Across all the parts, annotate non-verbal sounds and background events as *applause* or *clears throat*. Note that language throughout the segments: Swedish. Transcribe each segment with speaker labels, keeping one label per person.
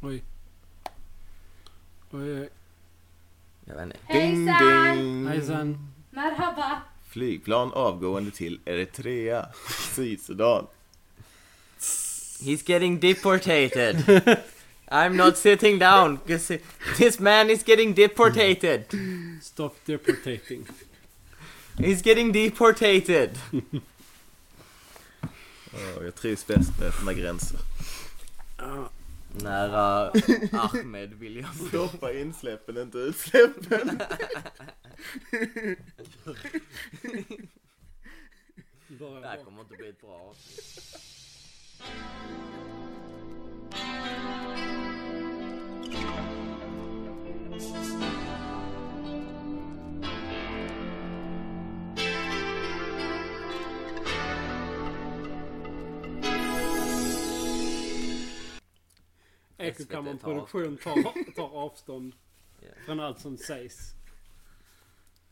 Speaker 1: Oj. Oj, oj.
Speaker 2: Jag vet inte.
Speaker 3: Hejsan!
Speaker 4: ding!
Speaker 1: Hejsan.
Speaker 3: Marhaba!
Speaker 4: Flygplan avgående till Eritrea, *laughs* Sydsudan.
Speaker 2: He's getting deportated. I'm not sitting down. 'cause This man is getting deportated.
Speaker 1: Stop deportating.
Speaker 2: He's getting deportated.
Speaker 4: Åh, jag trivs bäst med öppna gränser.
Speaker 1: Ja.
Speaker 2: Nära Ahmed vill jag.
Speaker 4: Stoppa insläppen, inte utsläppen.
Speaker 1: Bara
Speaker 2: Det här
Speaker 1: bak.
Speaker 2: kommer inte bli ett bra avsnitt.
Speaker 1: Ekokammaren
Speaker 2: SVT tar
Speaker 1: Produktion tar,
Speaker 2: *laughs*
Speaker 1: tar avstånd
Speaker 2: Ja.
Speaker 1: från allt som sägs.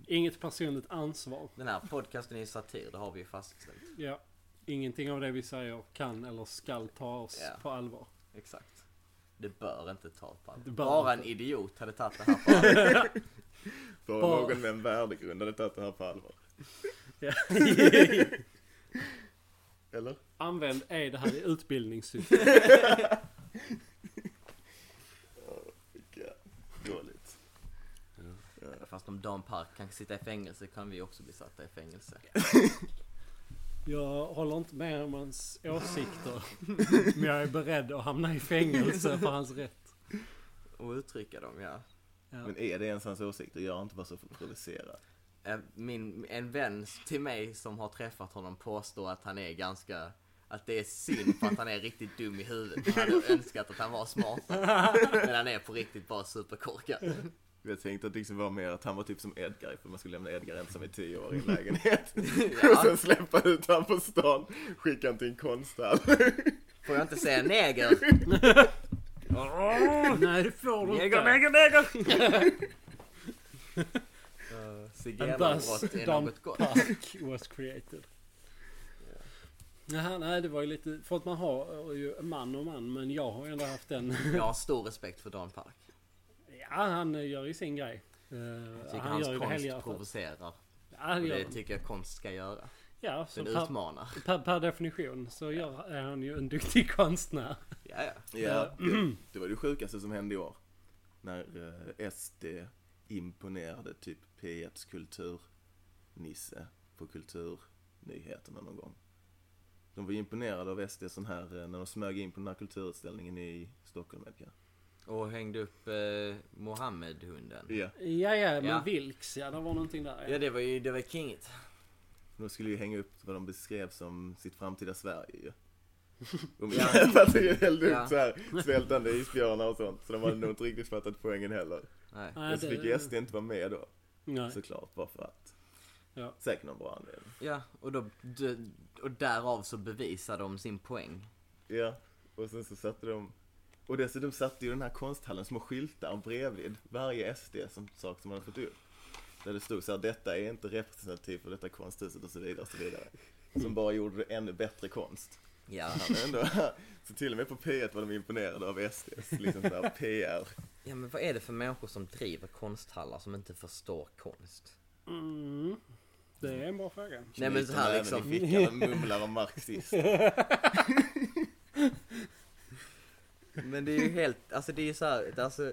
Speaker 1: Inget personligt ansvar.
Speaker 2: Den här podcasten är satir, det har vi ju fastställt.
Speaker 1: Ja. Ingenting av det vi säger kan eller skall tas
Speaker 2: Ja.
Speaker 1: på
Speaker 2: *laughs*
Speaker 1: allvar.
Speaker 2: Exakt. Det bör inte ta på allvar.
Speaker 1: Det bör
Speaker 2: Bara en
Speaker 1: inte.
Speaker 2: idiot hade tagit det här på allvar.
Speaker 4: Bara
Speaker 1: Bara-
Speaker 4: någon med en värdegrund hade tagit det här på allvar.
Speaker 1: Ja.
Speaker 4: Eller?
Speaker 1: Använd är det här i utbildningssyfte.
Speaker 4: Ja, dåligt.
Speaker 2: Fast om Dan Park kan sitta i fängelse kan vi också bli satta i fängelse.
Speaker 1: Jag håller inte med om hans åsikter. Men jag är beredd att hamna i fängelse för hans rätt.
Speaker 2: Och uttrycka dem, ja.
Speaker 1: Ja.
Speaker 4: Men är det ens hans åsikt? Och jag är inte bara så för att provocera.
Speaker 2: Eh, Min, en vän till mig som har träffat honom påstår att han är ganska... Att det är synd för att han är riktigt dum i huvudet. Han hade önskat att han var smart.
Speaker 1: *laughs*
Speaker 2: Men han är på riktigt bara superkorkad.
Speaker 4: Jag tänkte att det liksom var mer att han var typ som Edgar, för man skulle lämna Edgar ensam i tio år i
Speaker 1: *laughs*
Speaker 4: en lägenhet. Och sen släppa ut han på stan, skicka han till en konsthall.
Speaker 1: Mm.
Speaker 2: Får jag inte säga neger?
Speaker 1: Nej det får du
Speaker 2: Neger,
Speaker 1: inte.
Speaker 2: neger, neger!
Speaker 1: And thus
Speaker 2: Zigenarbrott är
Speaker 1: Dump
Speaker 2: något gott.
Speaker 1: Park was created. Jaha, nej det var ju lite, för att man har eh, ju man och man men jag har ju ändå haft den.
Speaker 2: Jag har stor respekt för Dan Park.
Speaker 1: Ja han eh, gör ju sin grej. Eh,
Speaker 2: Jag
Speaker 1: han
Speaker 2: tycker hans
Speaker 1: gör ju det
Speaker 2: konst
Speaker 1: helhjärtat.
Speaker 2: provocerar.
Speaker 1: Ja, han
Speaker 2: Och
Speaker 1: gör
Speaker 2: det
Speaker 4: typ
Speaker 1: den.
Speaker 2: tycker jag konst ska göra.
Speaker 1: ja så
Speaker 2: Den
Speaker 1: per,
Speaker 2: utmanar.
Speaker 1: per, per definition så gör, är han ju en duktig *laughs* konstnär. Eh,
Speaker 2: Ja, ja.
Speaker 4: Ja, det, det var det sjukaste som hände i år. När eh, SD imponerade typ P1s kulturnisse på kulturnyheterna någon gång. De var ju imponerade av SD sån här, eh, när de smög in på den här kulturutställningen i Stockholm, Edgar.
Speaker 2: Och hängde upp eh, Mohammed-hunden.
Speaker 4: Ja.
Speaker 1: *clears throat* Ja ja men
Speaker 2: Ja.
Speaker 1: Vilks ja det var någonting där.
Speaker 2: Ja
Speaker 1: Ja.
Speaker 2: det var ju, det var kinget.
Speaker 4: De skulle ju hänga upp vad de beskrev som sitt framtida Sverige ju. Och
Speaker 2: Ja.
Speaker 4: Miljöpartiet hällde
Speaker 2: Ja.
Speaker 4: upp så här svältande isbjörnar och sånt. Så de hade nog inte riktigt fattat poängen heller.
Speaker 2: Nej.
Speaker 1: Nej,
Speaker 4: Men så
Speaker 1: det-
Speaker 4: fick ju SD inte vara med då.
Speaker 1: nej.
Speaker 4: Såklart, bara för att.
Speaker 1: Ja.
Speaker 4: Säkert någon bra anledning.
Speaker 2: Ja, och, då, d- och därav så bevisar de sin poäng.
Speaker 4: Ja, och sen så satte de... Och dessutom satte ju den här konsthallen små skyltar bredvid varje SD som sak som man hade fått upp. Där det stod så här, detta är inte representativt för detta konsthuset och så vidare och så vidare. Som bara gjorde det ännu bättre konst.
Speaker 2: Ja,
Speaker 4: Men ändå, *laughs* så till och med på P1 var de imponerade av SDs liksom så här PR.
Speaker 2: ja men vad är det för människor som driver konsthallar som inte förstår konst?
Speaker 1: Mm. Det är en bra fråga.
Speaker 2: Nej, men så här
Speaker 4: Knyter
Speaker 2: liksom.
Speaker 4: näven i fickan och mumlar om marxist.
Speaker 2: Men det är ju helt, alltså det är ju så här, alltså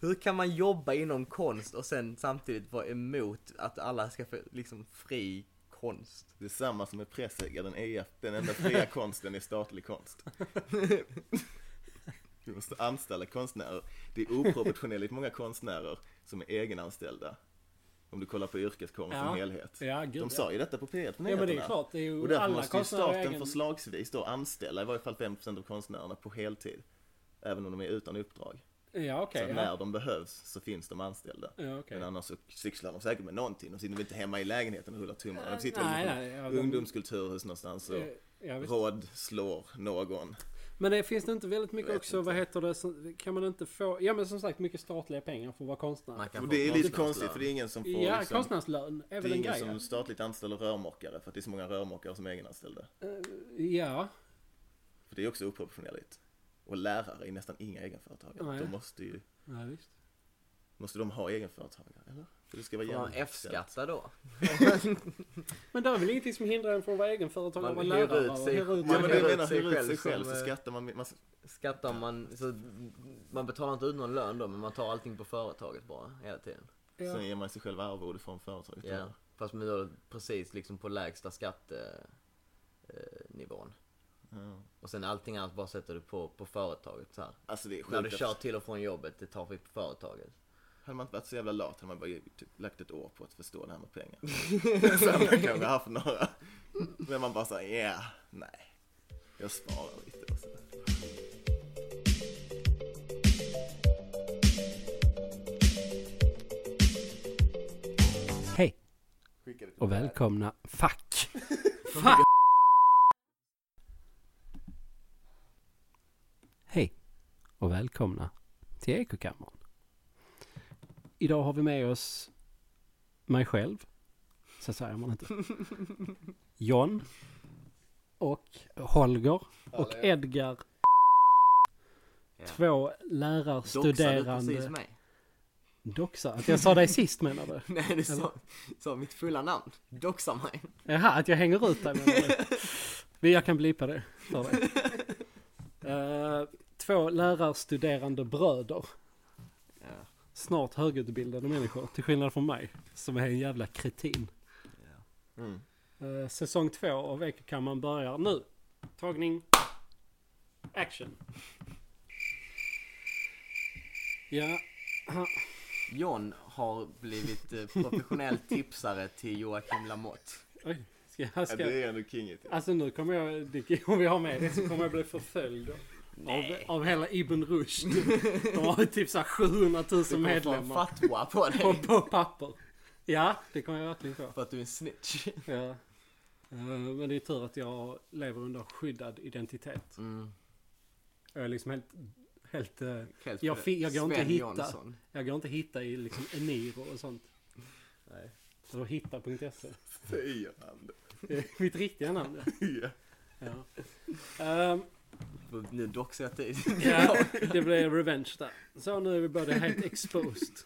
Speaker 2: hur kan man jobba inom konst och sen samtidigt vara emot att alla ska få liksom fri konst?
Speaker 4: Det är samma som med pressägare, den, är,
Speaker 1: *laughs*
Speaker 4: den enda fria konsten är statlig konst. Vi måste anställa konstnärer. Det är oproportionerligt många konstnärer som är egenanställda. Om du kollar på yrkeskåren
Speaker 1: Ja.
Speaker 4: som helhet.
Speaker 1: Ja, gud,
Speaker 4: De sa ju detta på P1
Speaker 1: Ja
Speaker 4: på
Speaker 1: men det är
Speaker 4: nyheterna.
Speaker 1: klart, det är
Speaker 4: Och
Speaker 1: ju
Speaker 4: därför
Speaker 1: alla
Speaker 4: måste ju
Speaker 1: konstnärer har
Speaker 4: staten
Speaker 1: egen...
Speaker 4: förslagsvis då anställa i varje fall 5% av konstnärerna på heltid. Även om de är utan uppdrag.
Speaker 1: Ja okej.
Speaker 4: så att
Speaker 1: ja.
Speaker 4: när de behövs så finns de anställda.
Speaker 1: Ja, okej.
Speaker 4: Men annars så sysslar de säkert med någonting. De sitter väl inte hemma i lägenheten och rullar tummarna. De sitter
Speaker 1: Nej,
Speaker 4: i
Speaker 1: nej, ja,
Speaker 4: något
Speaker 1: de-
Speaker 4: ungdomskulturhus någonstans och
Speaker 1: Eh, ja, visst.
Speaker 4: råd slår någon.
Speaker 1: Men det finns det inte väldigt mycket
Speaker 4: Jag vet
Speaker 1: också, vad heter det, som- kan man inte få, ja men som sagt mycket statliga pengar för att vara konstnär.
Speaker 2: Man kan
Speaker 4: Och
Speaker 2: få
Speaker 4: det är lite
Speaker 2: konstnärslön.
Speaker 4: konstigt för det är ingen som får
Speaker 1: ja,
Speaker 4: liksom,
Speaker 1: konstnärslön är
Speaker 4: Det
Speaker 1: väl
Speaker 4: är
Speaker 1: en
Speaker 4: ingen
Speaker 1: grej?
Speaker 4: som statligt anställer rörmokare för att det är så många rörmokare som är egenanställda.
Speaker 1: Ja,
Speaker 4: För det är också oproportionerligt. Och lärare är nästan inga egenföretagare.
Speaker 1: Nej.
Speaker 4: De måste ju,
Speaker 1: Ja, visst.
Speaker 4: måste de ha egenföretagare eller? För det ska vara
Speaker 2: Får man
Speaker 4: jämställt.
Speaker 2: F-skatta då?
Speaker 1: Men det är väl ingenting som hindrar en från att vara egenföretagare
Speaker 2: Man
Speaker 1: och vara
Speaker 2: hyr
Speaker 1: lärare
Speaker 2: ut
Speaker 1: och
Speaker 2: sig-
Speaker 1: hyra ut
Speaker 4: Ja men
Speaker 1: sig
Speaker 4: det jag
Speaker 2: Man
Speaker 4: menar,
Speaker 2: hyr ut sig
Speaker 4: hyr ut sig
Speaker 2: själv
Speaker 4: själv
Speaker 2: som,
Speaker 4: så
Speaker 2: eh,
Speaker 4: skattar man, man
Speaker 2: Skattar man, så man betalar inte ut någon lön då, men man tar allting på företaget bara hela tiden.
Speaker 1: Ja.
Speaker 4: sen ger man sig själv arvode från företaget.
Speaker 2: Ja, fast med då precis liksom på lägsta eh, skattenivån.
Speaker 4: Ja.
Speaker 2: Och sen allting annat bara sätter du på, på företaget så här.
Speaker 4: Alltså det är
Speaker 2: När du
Speaker 4: sjukt.
Speaker 2: kör
Speaker 4: att-
Speaker 2: till och från jobbet, det tar vi på företaget.
Speaker 4: Hade man inte varit så jävla lat hade man bara typ, lagt ett år på att förstå det här
Speaker 2: *laughs*
Speaker 4: med pengar. så hade man kanske haft några. Men man bara såhär, ja, yeah, nej. Jag sparar lite och så.
Speaker 1: Hej
Speaker 4: Skickade till
Speaker 1: och
Speaker 4: mig.
Speaker 1: välkomna. Fuck! Fuck!
Speaker 2: Fuck.
Speaker 1: Hej och välkomna till Ekokammaren. Idag har vi med oss mig själv. Så säger man inte. John. Och Holger. Och
Speaker 4: Hallå.
Speaker 1: Edgar.
Speaker 2: Ja.
Speaker 1: Två
Speaker 2: Doxade du precis
Speaker 1: lärarstuderande.
Speaker 2: mig?
Speaker 1: Doxa. Att jag sa dig sist menar du?
Speaker 2: *laughs* Nej, du sa, sa mitt fulla namn. Doxa mig.
Speaker 1: Jaha, att jag hänger ut dig menar du? Men Jag kan blipa det för dig. Eh, två lärarstuderande bröder.
Speaker 2: Ja.
Speaker 1: Snart högutbildade människor, till skillnad från mig. Som är en jävla kretin.
Speaker 4: Mm.
Speaker 1: Eh, säsong två av Ekokammaren börjar nu. Tagning. Action. Ja,
Speaker 2: John har blivit eh, professionell tipsare till Joakim Lamotte.
Speaker 1: oj. Ska jag,
Speaker 4: Ja,
Speaker 1: ska
Speaker 4: det är ändå kinget. ju.
Speaker 1: Alltså nu kommer jag, det- om vi har med det så kommer jag bli förföljd. Av, av hela Ibn Rushd. De har ju typ såhär 700
Speaker 2: Du
Speaker 1: 000
Speaker 2: kommer få en
Speaker 1: medlemmar.
Speaker 2: fatwa på
Speaker 1: På,
Speaker 2: dig.
Speaker 1: på papper. Ja, det kommer jag verkligen få.
Speaker 2: För att du är en snitch.
Speaker 1: Ja. Eh, Men det är tur att jag lever under skyddad identitet.
Speaker 2: Mm.
Speaker 1: Jag är liksom helt, helt, eh,
Speaker 2: Helt
Speaker 1: Jag
Speaker 2: för
Speaker 1: fi- jag går inte
Speaker 2: Sven
Speaker 1: hitta.
Speaker 2: Jonsson.
Speaker 1: jag går inte att hitta i liksom Eniro och sånt.
Speaker 2: Nej.
Speaker 1: Så hitta.se.
Speaker 4: Säger han det?
Speaker 1: Det är Mitt riktiga namn.
Speaker 4: Ja.
Speaker 1: Ja. Ehm,
Speaker 2: Nu doxar
Speaker 1: *laughs*
Speaker 2: jag tid.
Speaker 1: Ja, det blev revenge där. Så nu är vi båda helt exposed.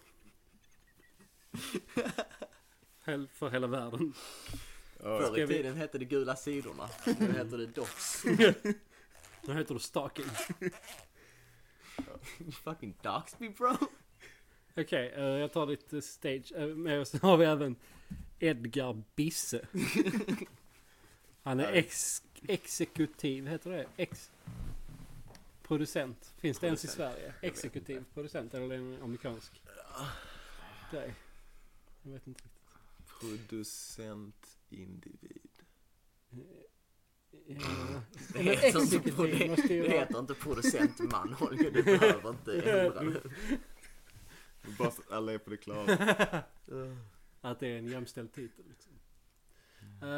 Speaker 1: Hel- För hela världen. *laughs*
Speaker 2: Förr
Speaker 1: Ska
Speaker 2: i
Speaker 1: vi-
Speaker 2: tiden hette det gula sidorna. Nu heter det dox.
Speaker 1: Nu heter du stalking.
Speaker 2: Fucking dox me bro.
Speaker 1: Okej, eh, jag tar ditt eh, stage. Eh, Med oss har vi även Edgar Bisse. Han är ex- exekutiv, heter det? Ex- producent. Finns det ens i
Speaker 2: Producent.
Speaker 1: Sverige? Exekutiv producent, eller är det en amerikansk grej? Jag vet inte riktigt.
Speaker 4: Producent individ.
Speaker 1: Ja.
Speaker 2: Det
Speaker 1: Men
Speaker 2: heter, inte,
Speaker 1: exekutiv
Speaker 2: produ-
Speaker 1: måste ju
Speaker 2: det
Speaker 1: vara-
Speaker 2: heter inte producent man Holger. Du
Speaker 1: *laughs*
Speaker 2: behöver inte ändra det.
Speaker 4: Bara så att alla är på det klara.
Speaker 1: *laughs* Att det är en jämställd titel. Liksom. Eh,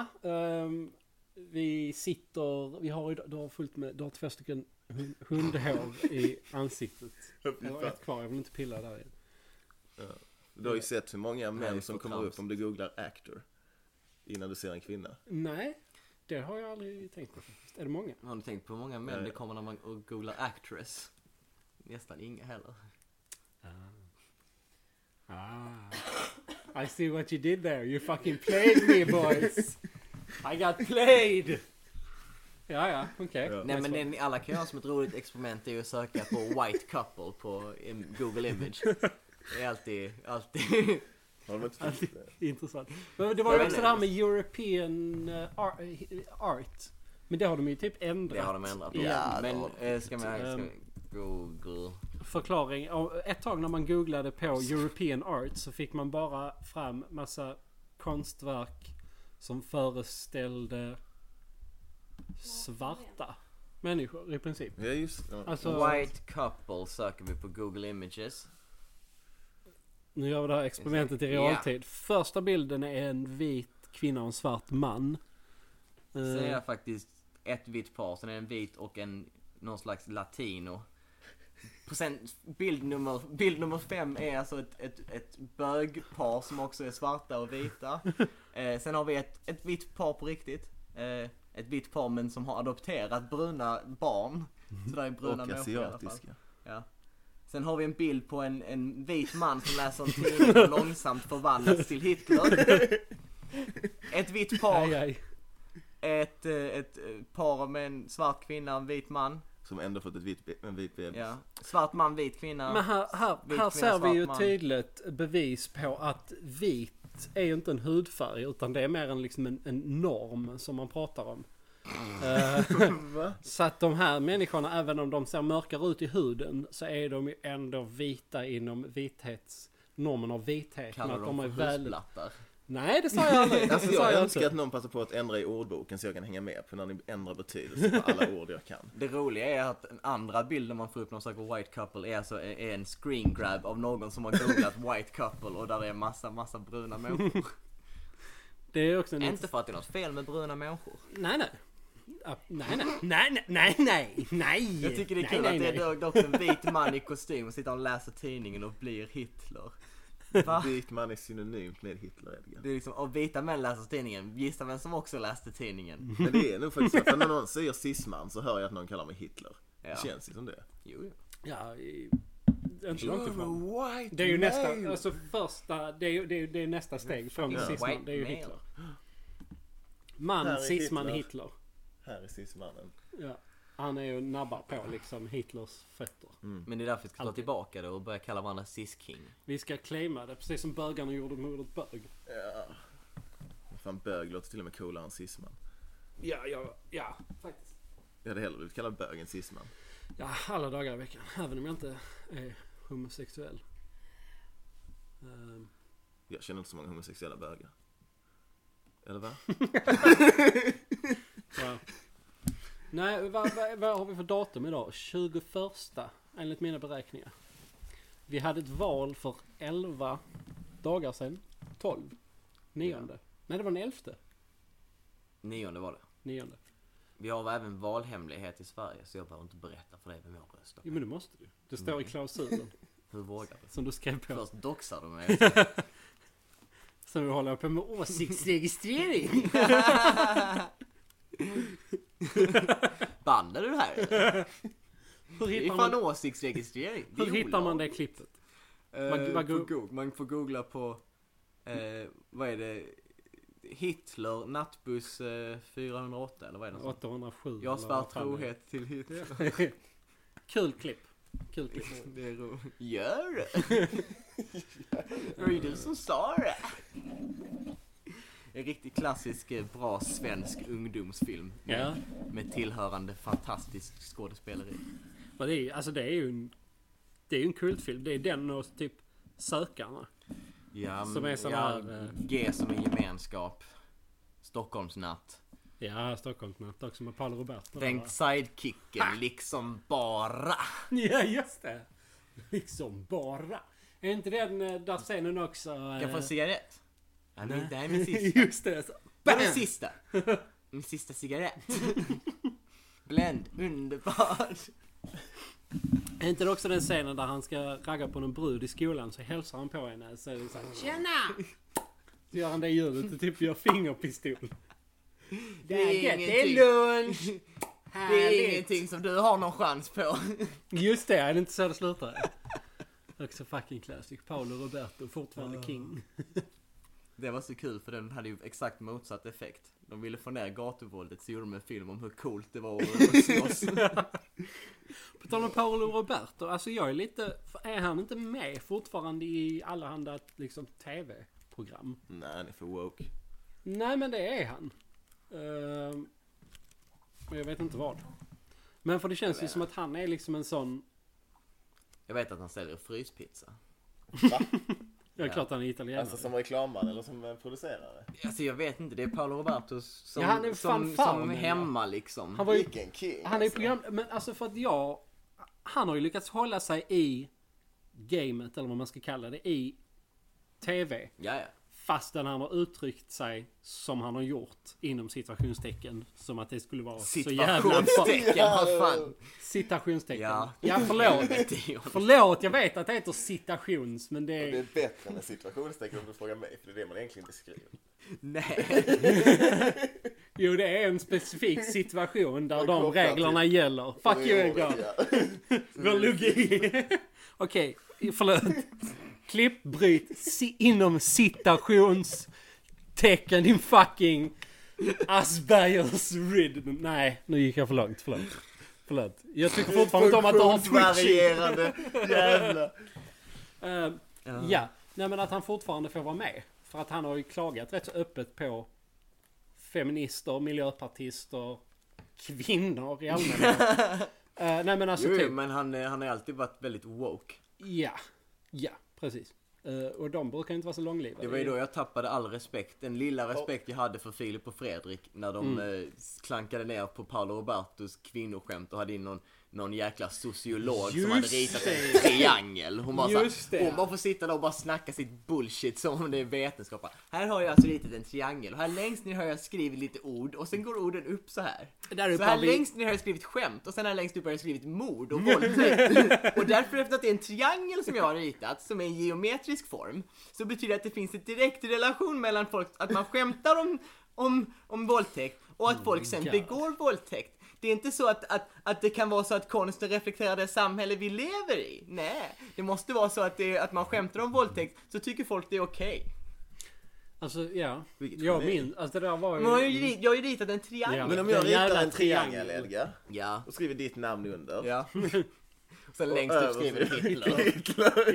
Speaker 1: jaha. ehm, vi sitter, vi har idag, du har fullt med, du har två stycken hun- hundhår i ansiktet. Jag har ett kvar, jag vill inte pilla där igen.
Speaker 4: Du har ju sett hur många
Speaker 2: Nej,
Speaker 4: män som
Speaker 2: för
Speaker 4: kommer
Speaker 2: trams.
Speaker 4: upp om du googlar actor. Innan du ser en kvinna.
Speaker 1: Nej, det har jag aldrig tänkt på faktiskt. Är det många?
Speaker 2: Har ni tänkt på hur många män
Speaker 4: Nej.
Speaker 2: det kommer när man googlar actress? Nästan inga heller.
Speaker 1: Ah. I see what you did there, you fucking played me boys! I got played! Ja, ja, okej.
Speaker 4: Ja.
Speaker 2: Nej men det ni alla kan göra som ett roligt experiment är ju att söka på white couple på im- google image. Det är alltid, alltid.
Speaker 4: Har de inte fått det?
Speaker 1: Intressant. Men det var ju
Speaker 2: Jag vet
Speaker 1: också
Speaker 2: inte.
Speaker 1: det här med European eh, ar- eh, art. Men det har de ju typ ändrat.
Speaker 2: Det har de ändrat på.
Speaker 1: Ja,
Speaker 2: men
Speaker 4: det
Speaker 2: eh, ska man, ska
Speaker 1: Ehm.
Speaker 2: google.
Speaker 1: Förklaring. Och Ett tag när man googlade på European art så fick man bara fram massa konstverk som föreställde svarta människor i princip.
Speaker 4: Ja just det.
Speaker 1: Alltså,
Speaker 2: White couple söker vi på google images.
Speaker 1: nu gör vi det här experimentet i
Speaker 2: Ja.
Speaker 1: realtid. Första bilden är en vit kvinna och en svart man.
Speaker 2: Sen är
Speaker 1: Eh,
Speaker 2: det faktiskt ett vitt par, sen är det en vit och en någon slags latino. Och sen bild nummer, bild nummer fem är alltså ett, ett, ett bögpar som också är svarta och vita. Eh, sen har vi ett, ett vitt par på riktigt. Eh, ett vitt par men som har adopterat bruna barn. Så där är bruna
Speaker 4: Och
Speaker 2: människor i alla fall.
Speaker 4: asiatiska.
Speaker 2: Ja. Sen har vi en bild på en, en vit man som läser en tidning och långsamt förvandlas till Hitler. Ett vitt
Speaker 1: Aj,
Speaker 2: par,
Speaker 1: aj.
Speaker 2: ett, eh, ett eh, par med en svart kvinna, en vit man.
Speaker 4: Som ändå fått ett vit, be- en vit bebis.
Speaker 2: Ja. Svart man, vit kvinna.
Speaker 1: Men här, här,
Speaker 2: Vit
Speaker 1: här
Speaker 2: kvinna,
Speaker 1: ser vi
Speaker 2: svart
Speaker 1: ju
Speaker 2: man.
Speaker 1: tydligt bevis på att vit är ju inte en hudfärg utan det är mer en, liksom en, en norm som man pratar
Speaker 4: *laughs*
Speaker 1: om. Eh,
Speaker 4: Va?
Speaker 1: *laughs* så att de här människorna, även om de ser mörkare ut i huden, så är de ju ändå vita inom vithets... Normen av vithet.
Speaker 2: Kallar
Speaker 1: men att
Speaker 2: dem för
Speaker 1: är väl...
Speaker 2: husplattar.
Speaker 1: Nej, det sa jag aldrig. Det
Speaker 4: *laughs* Alltså,
Speaker 1: sa
Speaker 4: jag
Speaker 1: jag
Speaker 4: önskar
Speaker 1: inte.
Speaker 4: att någon passar på att ändra i ordboken så jag kan hänga med på när ni ändrar betydelse på alla ord jag kan.
Speaker 2: Det roliga är att den andra bilden man får upp när man söker white couple är alltså är en screen grab av någon som har
Speaker 1: *laughs*
Speaker 2: googlat white couple och där är massa, massa bruna människor.
Speaker 1: Det är också en
Speaker 2: Inte för att det är något fel med bruna människor.
Speaker 1: Nej, nej. Ja, Nej, nej,
Speaker 2: *laughs*
Speaker 1: nej, nej, nej, nej.
Speaker 2: Jag tycker det är
Speaker 1: nej,
Speaker 2: kul
Speaker 1: nej,
Speaker 2: att det
Speaker 1: nej.
Speaker 2: är dock en vit man i kostym och sitter och läser tidningen och blir Hitler. Va?
Speaker 4: Vit man är synonymt med Hitler, Edgar.
Speaker 2: Det är liksom, och vita män läser tidningen. Gissa vem som också läste tidningen?
Speaker 1: Mm.
Speaker 4: Men det är nog faktiskt så, för när någon säger cisman så hör jag att någon kallar mig Hitler.
Speaker 2: Ja.
Speaker 4: Det känns ju som det.
Speaker 2: Jo, jo.
Speaker 1: Ja, i- inte långt ifrån.
Speaker 4: white
Speaker 1: Det är ju nästa, alltså första, det är ju det är, ju- det är nästa steg från
Speaker 4: Ja.
Speaker 1: cisman. Det är ju
Speaker 2: White
Speaker 1: Hitler.
Speaker 2: male.
Speaker 1: Man,
Speaker 4: Här är
Speaker 1: cisman,
Speaker 4: Hitler.
Speaker 1: Hitler.
Speaker 4: Här är cismannen.
Speaker 1: Ja. Han är ju nabbar på liksom Hitlers fötter.
Speaker 2: Men det är därför vi ska ta
Speaker 1: Alltid.
Speaker 2: tillbaka det och börja kalla varandra cis-king.
Speaker 1: Vi ska claima det, precis som bögarna gjorde med ordet bög.
Speaker 4: Ja. Fan, bög låter till och med coolare än cisman.
Speaker 1: Ja, ja, ja, faktiskt.
Speaker 4: Jag hade hellre blivit kallad bög än cisman.
Speaker 1: Ja, alla dagar i veckan. Även om jag inte är homosexuell. Ehm,
Speaker 4: Jag känner inte så många homosexuella bögar. Eller *laughs* va?
Speaker 1: ja. Nej, vad, vad, vad har vi för datum idag? 21 enligt mina beräkningar. Vi hade ett val för 11 dagar sedan. 12. Nionde. Nej, det var den 11.
Speaker 2: Nionde var det.
Speaker 1: Nionde.
Speaker 2: Vi har även valhemlighet i Sverige så jag behöver inte berätta för dig vem jag röstar på.
Speaker 1: Jo, men det måste du. Det står i
Speaker 2: Mm. *laughs*
Speaker 1: klausulen
Speaker 2: Hur vågar du?
Speaker 1: som du skrev på.
Speaker 2: Först doxar
Speaker 1: *laughs*
Speaker 2: du mig. och sen-
Speaker 1: Sen nu håller jag på med
Speaker 2: *laughs*
Speaker 1: åsiktsregistrering.
Speaker 2: Bandar du det här?
Speaker 1: Hur
Speaker 2: Det är
Speaker 1: hittar
Speaker 2: fan
Speaker 1: man,
Speaker 2: åsiktsregistrering. Det är
Speaker 1: hur hittar man det
Speaker 2: olagligt.
Speaker 1: klippet?
Speaker 2: Eh,
Speaker 1: Man- man
Speaker 2: på
Speaker 1: go-
Speaker 2: Goog- man får googla på, eh, vad är det, Hitler nattbuss eh, 408 eller vad är det? sånt?
Speaker 1: 807.
Speaker 2: Jag
Speaker 1: eller
Speaker 2: svär
Speaker 1: vad fan det är.
Speaker 2: trohet till Hitler.
Speaker 1: *laughs* Kul klipp. Kul klipp.
Speaker 2: Det är roligt. Gör det!
Speaker 1: *laughs*
Speaker 2: Det var ju du som sa det! En riktigt klassisk, eh, bra svensk ungdomsfilm. Med,
Speaker 1: Ja.
Speaker 2: med tillhörande fantastisk skådespeleri.
Speaker 1: Men det är, ju- alltså det är ju en, det är ju en kultfilm. Det är den och typ Sökarna.
Speaker 2: Ja,
Speaker 1: Som är sån
Speaker 2: ja,
Speaker 1: här, eh,
Speaker 2: G som en gemenskap. Stockholmsnatt.
Speaker 1: Ja, Stockholmsnatt också med Paolo Roberto.
Speaker 2: Bengt
Speaker 1: Ah!
Speaker 2: Sidekicken, liksom bara.
Speaker 1: *laughs* Ja, just det. Liksom bara. Är inte den eh, där scenen också...
Speaker 2: Kan jag få en
Speaker 1: eh,
Speaker 2: cigarett? Nej, men
Speaker 1: nej.
Speaker 2: det här
Speaker 1: *laughs*
Speaker 2: är min sista.
Speaker 1: Just det. Så.
Speaker 2: Det är
Speaker 1: *laughs*
Speaker 2: min sista. Min sista cigarett. Bländ, underbar.
Speaker 1: Är inte det också den scenen där han ska ragga på någon brud i skolan så hälsar han på henne så är det så här, Tjena! Så gör han det ljudet och typ gör fingerpistol.
Speaker 2: Det är
Speaker 1: gött,
Speaker 2: ingenting. *laughs*
Speaker 1: lunch!
Speaker 2: Det är
Speaker 1: Härligt.
Speaker 2: ingenting som du har någon chans på. *laughs*
Speaker 1: Just det, är det inte så det *laughs* slutar? Också fucking classic. Paolo Roberto, fortfarande king.
Speaker 2: Det var så kul för den hade ju exakt motsatt effekt. De ville få ner gatuvåldet så gjorde de en film om hur coolt det var att slåss. *laughs*
Speaker 1: På tal om Paolo Roberto, alltså jag är lite... Är han inte med fortfarande i allehanda liksom TV-program?
Speaker 4: Nej, han är för woke.
Speaker 1: Nej men det är han. Ehm, och jag vet inte vad. Men för det känns ju som att han är liksom en sån...
Speaker 2: Jag vet att han säljer fryspizza.
Speaker 1: Ja,
Speaker 2: Ja.
Speaker 1: klart han är italienare.
Speaker 4: Alltså som reklamman eller som eh, producerare.
Speaker 2: Alltså jag vet inte, det är Paolo Roberto som,
Speaker 1: Ja, han är
Speaker 2: som,
Speaker 1: fanfaren,
Speaker 2: som
Speaker 1: ja.
Speaker 2: hemma liksom.
Speaker 1: han var ju...
Speaker 4: Vilken king!
Speaker 1: Han är ju program... Men alltså för att jag... Han har ju lyckats hålla sig i gamet, eller vad man ska kalla det, i TV.
Speaker 2: Ja, ja.
Speaker 1: Fastän han har uttryckt sig som han har gjort inom citationstecken. Som att det skulle vara så jävla bra.
Speaker 2: Situationstecken, vad fan.
Speaker 1: Citationstecken. Ja,
Speaker 2: Ja. *laughs*
Speaker 1: förlåt. Förlåt, jag vet att det heter citations men det
Speaker 4: Det
Speaker 1: är...
Speaker 4: är bättre med situationstecken om du frågar mig, för det är det man egentligen beskriver.
Speaker 2: Nej.
Speaker 1: Jo, det är en specifik situation där
Speaker 4: Och
Speaker 1: de
Speaker 4: kopplat
Speaker 1: reglerna gäller. Fuck you Edgar. Vår logi. *laughs* Okej, förlåt. Klipp, bryt, si, inom citationstecken din fucking Aspergers rid. Nej, nu gick jag för långt. Förlåt. Förlåt. Jag tycker fortfarande inte om att du har twitching.
Speaker 2: Funktionsvarierande *laughs* jävla...
Speaker 1: Eh, Ja, nej men att han fortfarande får vara med. För att han har ju klagat rätt så öppet på feminister, miljöpartister, kvinnor i
Speaker 2: *laughs*
Speaker 1: allmänhet. Eh, nej men alltså
Speaker 2: Jo,
Speaker 1: typ,
Speaker 2: jo, men han, eh, han har alltid varit väldigt woke.
Speaker 1: ja, ja, precis. Eh, och de brukar inte vara så långlivade.
Speaker 2: Det var ju då jag tappade all respekt, den lilla respekt jag hade för Filip och Fredrik när de
Speaker 1: Mm.
Speaker 2: eh, klankade ner på Paolo Robertos kvinnoskämt och hade in någon, någon jäkla sociolog som hade
Speaker 1: Just
Speaker 2: ritat
Speaker 1: det.
Speaker 2: en triangel. Hon bara
Speaker 1: Just det.
Speaker 2: såhär, hon bara får sitta där och bara snacka sitt bullshit som om det är vetenskap. Bara, Här har jag alltså ritat en triangel och här längst ner har jag skrivit lite ord och sen går orden upp så här.
Speaker 1: Där uppe
Speaker 2: så här
Speaker 1: har vi-
Speaker 2: längst ner har jag skrivit skämt och sen här längst upp har jag skrivit
Speaker 1: *laughs*
Speaker 2: mord och våldtäkt. och därför efter att det är en triangel som jag har ritat som är en geometrisk form så betyder det att det finns en direkt relation mellan folk, att man skämtar om, om, om våldtäkt och att folk sen
Speaker 1: Oh God.
Speaker 2: begår våldtäkt. Det är inte så att, att, att det kan vara så att konsten reflekterar det samhälle vi lever i. Nej, det måste vara så att, det, att man skämtar om våldtäkt så tycker folk det är okej.
Speaker 1: Alltså ja,
Speaker 4: Vilket
Speaker 1: jag
Speaker 4: geni.
Speaker 1: minns, alltså det där var ju...
Speaker 2: Men jag har ju, ri- jag har ju ritat en
Speaker 1: Ja.
Speaker 2: triangel.
Speaker 4: Men om
Speaker 1: Den
Speaker 4: jag ritar
Speaker 1: jävla
Speaker 4: en triangel,
Speaker 1: triangel.
Speaker 4: Edgar,
Speaker 2: Ja.
Speaker 4: och skriver ditt namn
Speaker 2: *laughs*
Speaker 4: under.
Speaker 2: Ja. Sen
Speaker 4: och
Speaker 2: längst upp
Speaker 4: överst
Speaker 2: skriver du Hitler.
Speaker 4: *laughs* Hitler.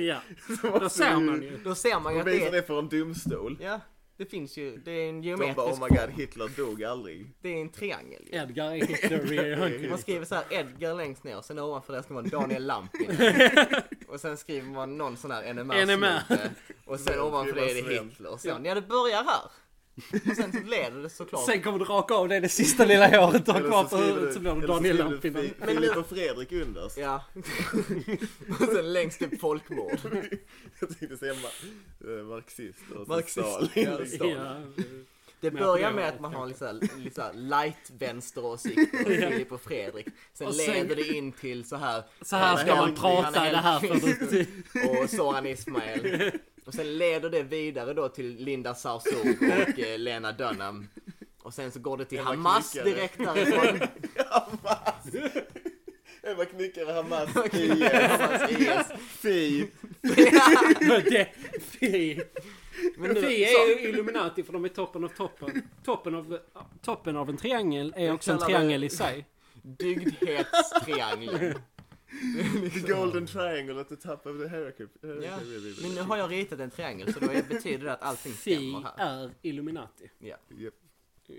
Speaker 2: *laughs*
Speaker 1: Ja,
Speaker 4: Så
Speaker 1: då
Speaker 4: måste
Speaker 1: ser
Speaker 4: du-
Speaker 1: man ju.
Speaker 2: Då ser man ju
Speaker 4: Mm. De
Speaker 2: att
Speaker 4: visar
Speaker 2: det är...
Speaker 4: det för en domstol.
Speaker 2: Ja, det finns ju. Det är en
Speaker 4: De
Speaker 2: geometrisk
Speaker 4: bara oh my god, Hitler dog aldrig.
Speaker 2: Det är en triangel ju.
Speaker 1: Edgar är Hitler
Speaker 2: *laughs*
Speaker 1: i
Speaker 2: Man
Speaker 1: Hunky.
Speaker 2: skriver så här Edgar längst ner och sen ovanför det ska man Daniel Lampinen. och sen skriver man någon sån här NMR.
Speaker 1: NMR.
Speaker 2: snubbe. Och sen
Speaker 4: Men
Speaker 2: ovanför det är
Speaker 4: skriva
Speaker 2: det
Speaker 4: Sven.
Speaker 2: Hitler. Och sen, ja det börjar här. Och sen så leder det såklart.
Speaker 1: Sen kommer du raka av dig det sista lilla håret du har
Speaker 4: Eller
Speaker 1: kvar
Speaker 4: så
Speaker 1: på
Speaker 4: skriver
Speaker 1: huvudet
Speaker 4: du-
Speaker 1: så blir du
Speaker 4: eller så
Speaker 1: Daniel
Speaker 4: skriver du
Speaker 1: Lampinen.
Speaker 4: Fi- Filip och Fredrik underst.
Speaker 2: Ja. *laughs* och sen längst upp folkmord.
Speaker 4: Jag tänkte säga ma- eh, marxist och
Speaker 2: Marxist.
Speaker 4: Stalin.
Speaker 2: Ja,
Speaker 4: Liksom.
Speaker 1: Ja,
Speaker 2: Det
Speaker 1: Men
Speaker 2: börjar
Speaker 1: jag
Speaker 2: med
Speaker 1: tror-
Speaker 2: att man har lite så här- lite så här light
Speaker 1: *laughs*
Speaker 2: vänsteråsikter, Filip och Fredrik. Sen
Speaker 1: Och sen-
Speaker 2: leder det in till så här.
Speaker 1: så här ska man
Speaker 2: Henry, han
Speaker 1: prata
Speaker 2: är
Speaker 1: i det här för
Speaker 2: Henry.
Speaker 1: att...
Speaker 2: *laughs* och Soran Ismail. Och sen leder det vidare då till Linda Sarsour och eh, Lena Dunham. Och sen så går det till
Speaker 4: Emma
Speaker 2: Hamas
Speaker 4: Knyckare.
Speaker 1: *laughs*
Speaker 2: direkt därifrån.
Speaker 4: Hamas! Ebba knyckare Hamas i
Speaker 2: Hamas IS.
Speaker 4: Fi.
Speaker 1: *laughs*
Speaker 2: *laughs*
Speaker 1: Men det, fi.
Speaker 2: Men nu,
Speaker 1: fi
Speaker 2: så-
Speaker 1: är ju Illuminati för de är toppen av toppen. Toppen av, toppen av en triangel är också en
Speaker 2: kallar det-
Speaker 1: triangel i sig. *laughs*
Speaker 2: Dygdhetstriangeln.
Speaker 4: The golden triangle at the top of the hierarchy.
Speaker 2: liksom- Ja. Men nu har jag ritat en triangel så då betyder det att allting
Speaker 1: Fi
Speaker 2: stämmer här.
Speaker 1: är Illuminati.
Speaker 2: Ja.
Speaker 4: Yep.
Speaker 1: Eh,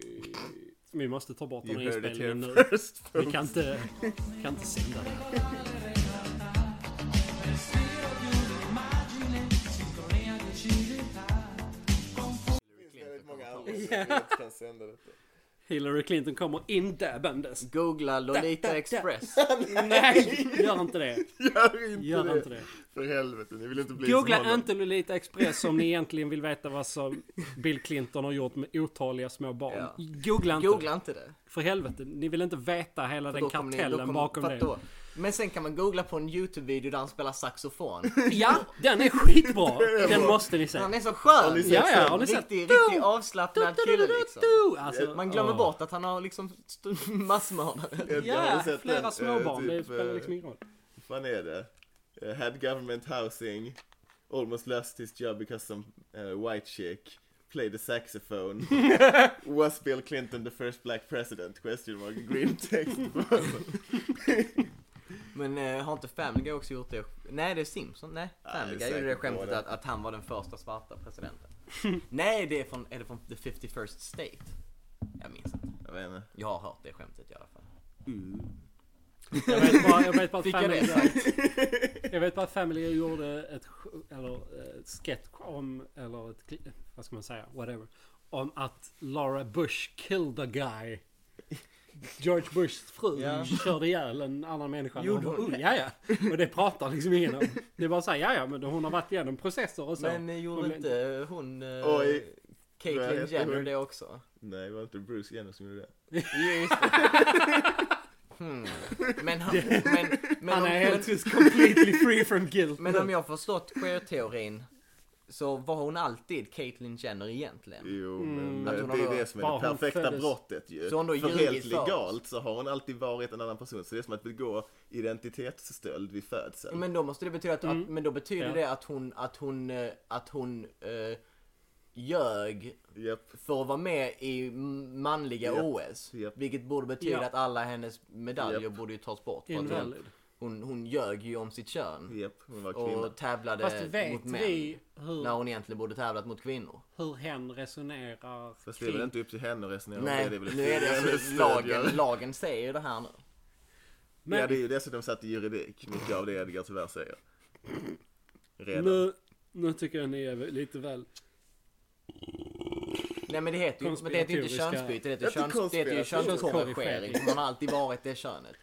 Speaker 1: Vi måste ta bort den
Speaker 4: Eh, You
Speaker 1: här
Speaker 4: heard it
Speaker 1: inspelningen nu.
Speaker 4: here first.
Speaker 1: Vi kan inte, kan inte sända det här.
Speaker 4: Det finns väldigt många anledningar till att vi inte kan sända *laughs* detta.
Speaker 1: Hillary Clinton kommer
Speaker 2: *laughs*
Speaker 1: indabbandes.
Speaker 2: Googla Lolita Express.
Speaker 1: Nej, gör inte det.
Speaker 4: Gör inte,
Speaker 1: Gör
Speaker 4: det.
Speaker 1: inte det.
Speaker 4: För helvete, ni vill inte bli som
Speaker 1: Googla
Speaker 4: honom.
Speaker 1: inte Lolita Express om ni egentligen vill veta vad som Bill Clinton har gjort med otaliga små barn.
Speaker 2: Ja.
Speaker 1: Googla inte.
Speaker 2: Googla inte det.
Speaker 1: För helvete, ni vill inte veta hela
Speaker 2: För
Speaker 1: den
Speaker 2: då kommer ni- då
Speaker 1: kartellen
Speaker 2: kommer-
Speaker 1: bakom
Speaker 2: för
Speaker 1: det.
Speaker 2: att då- Men sen kan man googla på en YouTube-video där han
Speaker 1: *laughs*
Speaker 2: spelar saxofon.
Speaker 1: Ja, den är skitbra! Den måste ni se.
Speaker 2: Han är så skön!
Speaker 4: ni sett
Speaker 1: Ja, ja,
Speaker 4: den?
Speaker 1: har ni sett?
Speaker 2: Riktig,
Speaker 1: Du,
Speaker 2: riktig avslappnad
Speaker 1: du, du,
Speaker 2: kille
Speaker 1: du,
Speaker 2: liksom.
Speaker 1: du. Alltså,
Speaker 2: Man glömmer
Speaker 1: åh.
Speaker 2: bort att han har liksom st- *laughs* massmördare.
Speaker 4: Edgar, har
Speaker 1: Ja,
Speaker 4: du sett den?
Speaker 1: flera
Speaker 4: Eh,
Speaker 1: småbarn. Det
Speaker 4: typ,
Speaker 1: spelar
Speaker 4: eh,
Speaker 1: liksom ingen roll.
Speaker 4: Vad är det? Eh, had government housing, almost lost his job because some eh, white chick played the
Speaker 1: *laughs*
Speaker 4: saxophone. Was Bill Clinton the first black president? Question mark,
Speaker 1: *laughs*
Speaker 4: green text.
Speaker 2: Men eh, har inte Family Guy också gjort det? Nej det är Simpson, nej.
Speaker 4: Ja,
Speaker 2: Family
Speaker 4: det är
Speaker 2: Guy gjorde det
Speaker 4: säkert
Speaker 2: skämtet
Speaker 4: båda.
Speaker 2: att, att han var den första svarta
Speaker 1: *laughs*
Speaker 2: presidenten. nej det är från, är det från The 51st State? Jag minns inte.
Speaker 4: Jag vet inte.
Speaker 2: Jag har hört det skämtet i alla fall.
Speaker 1: Jag vet bara, jag vet bara att
Speaker 2: Fick jag
Speaker 1: Family
Speaker 2: det
Speaker 1: Guy... Jag vet bara att Family Guy gjorde ett... sk- Eller eh, ett sketch om... Eller ett... kli- Vad ska man säga? Whatever. Om att Laura Bush killed a guy. George Bushs fru
Speaker 2: Ja.
Speaker 1: körde ihjäl en annan människa. när
Speaker 2: Gjorde
Speaker 1: hon var
Speaker 2: hon
Speaker 1: ung.
Speaker 2: det?
Speaker 1: Ja, ja. Och det pratar liksom ingen om. Det är bara såhär, ja, ja, men hon har varit igenom processer och så.
Speaker 2: Men eh,
Speaker 1: Hon
Speaker 2: gjorde
Speaker 1: blev-
Speaker 2: inte hon... Eh,
Speaker 4: Oj. Vad
Speaker 2: Caitlyn
Speaker 4: heter
Speaker 2: Jenner
Speaker 4: hon?
Speaker 2: det också?
Speaker 4: Nej, det var inte Bruce Jenner som gjorde det.
Speaker 2: Just det. Hmm. Men, han, men, men,
Speaker 1: Han
Speaker 2: om,
Speaker 1: är helt just completely free from guilt.
Speaker 2: men om jag har förstått queer-teorin så var hon alltid Caitlyn Jenner egentligen.
Speaker 4: Jo,
Speaker 1: Mm.
Speaker 4: men
Speaker 2: Att hon
Speaker 4: det är
Speaker 2: har-
Speaker 4: det som
Speaker 1: bara
Speaker 4: är det
Speaker 1: hon
Speaker 4: perfekta
Speaker 1: föddes-
Speaker 4: brottet ju.
Speaker 2: Så hon har
Speaker 4: för
Speaker 2: ljugit
Speaker 4: helt
Speaker 2: för oss.
Speaker 4: legalt så har hon alltid varit en annan person. Så det är som att begå identitetsstöld vid födseln.
Speaker 2: Men då måste det betyda att, att men då betyder
Speaker 1: Mm. Ja.
Speaker 2: det att hon, att hon, eh, att hon eh, ljög
Speaker 4: Japp.
Speaker 2: för att vara med i m- manliga
Speaker 4: Japp.
Speaker 2: OS.
Speaker 4: Japp.
Speaker 2: Vilket borde betyda
Speaker 1: Ja.
Speaker 2: att alla hennes medaljer
Speaker 4: Japp.
Speaker 2: borde ju tas bort. För att hon,
Speaker 1: Invalid.
Speaker 2: hon, hon ljög ju om sitt kön.
Speaker 4: Japp, hon var kvinna.
Speaker 2: Och tävlade
Speaker 1: Fast
Speaker 2: Eh, mot
Speaker 1: vet
Speaker 2: män.
Speaker 1: vi hur,
Speaker 2: När hon egentligen borde tävlat mot kvinnor.
Speaker 1: hur hen resonerar
Speaker 4: Fast det är väl
Speaker 1: kring-
Speaker 4: inte upp till henne att resonera om
Speaker 2: Nej,
Speaker 4: det. det är väl upp
Speaker 2: nu
Speaker 4: till
Speaker 2: är det
Speaker 4: hennes
Speaker 2: alltså,
Speaker 4: stödjare.
Speaker 2: lagen, lagen säger ju det här nu.
Speaker 1: Men-
Speaker 4: Ja, det är ju dessutom satt i juridik, mycket av det Edgar tyvärr säger. Redan.
Speaker 1: Nu, nu tycker jag ni är lite väl...
Speaker 2: Nej men det heter ju, men det heter ju inte
Speaker 1: Konspiratoriska-
Speaker 2: könsbyte, det heter,
Speaker 4: Inte
Speaker 2: köns, det heter ju
Speaker 4: konspiratoriska.
Speaker 2: könskorrigering. Hon har alltid varit det könet.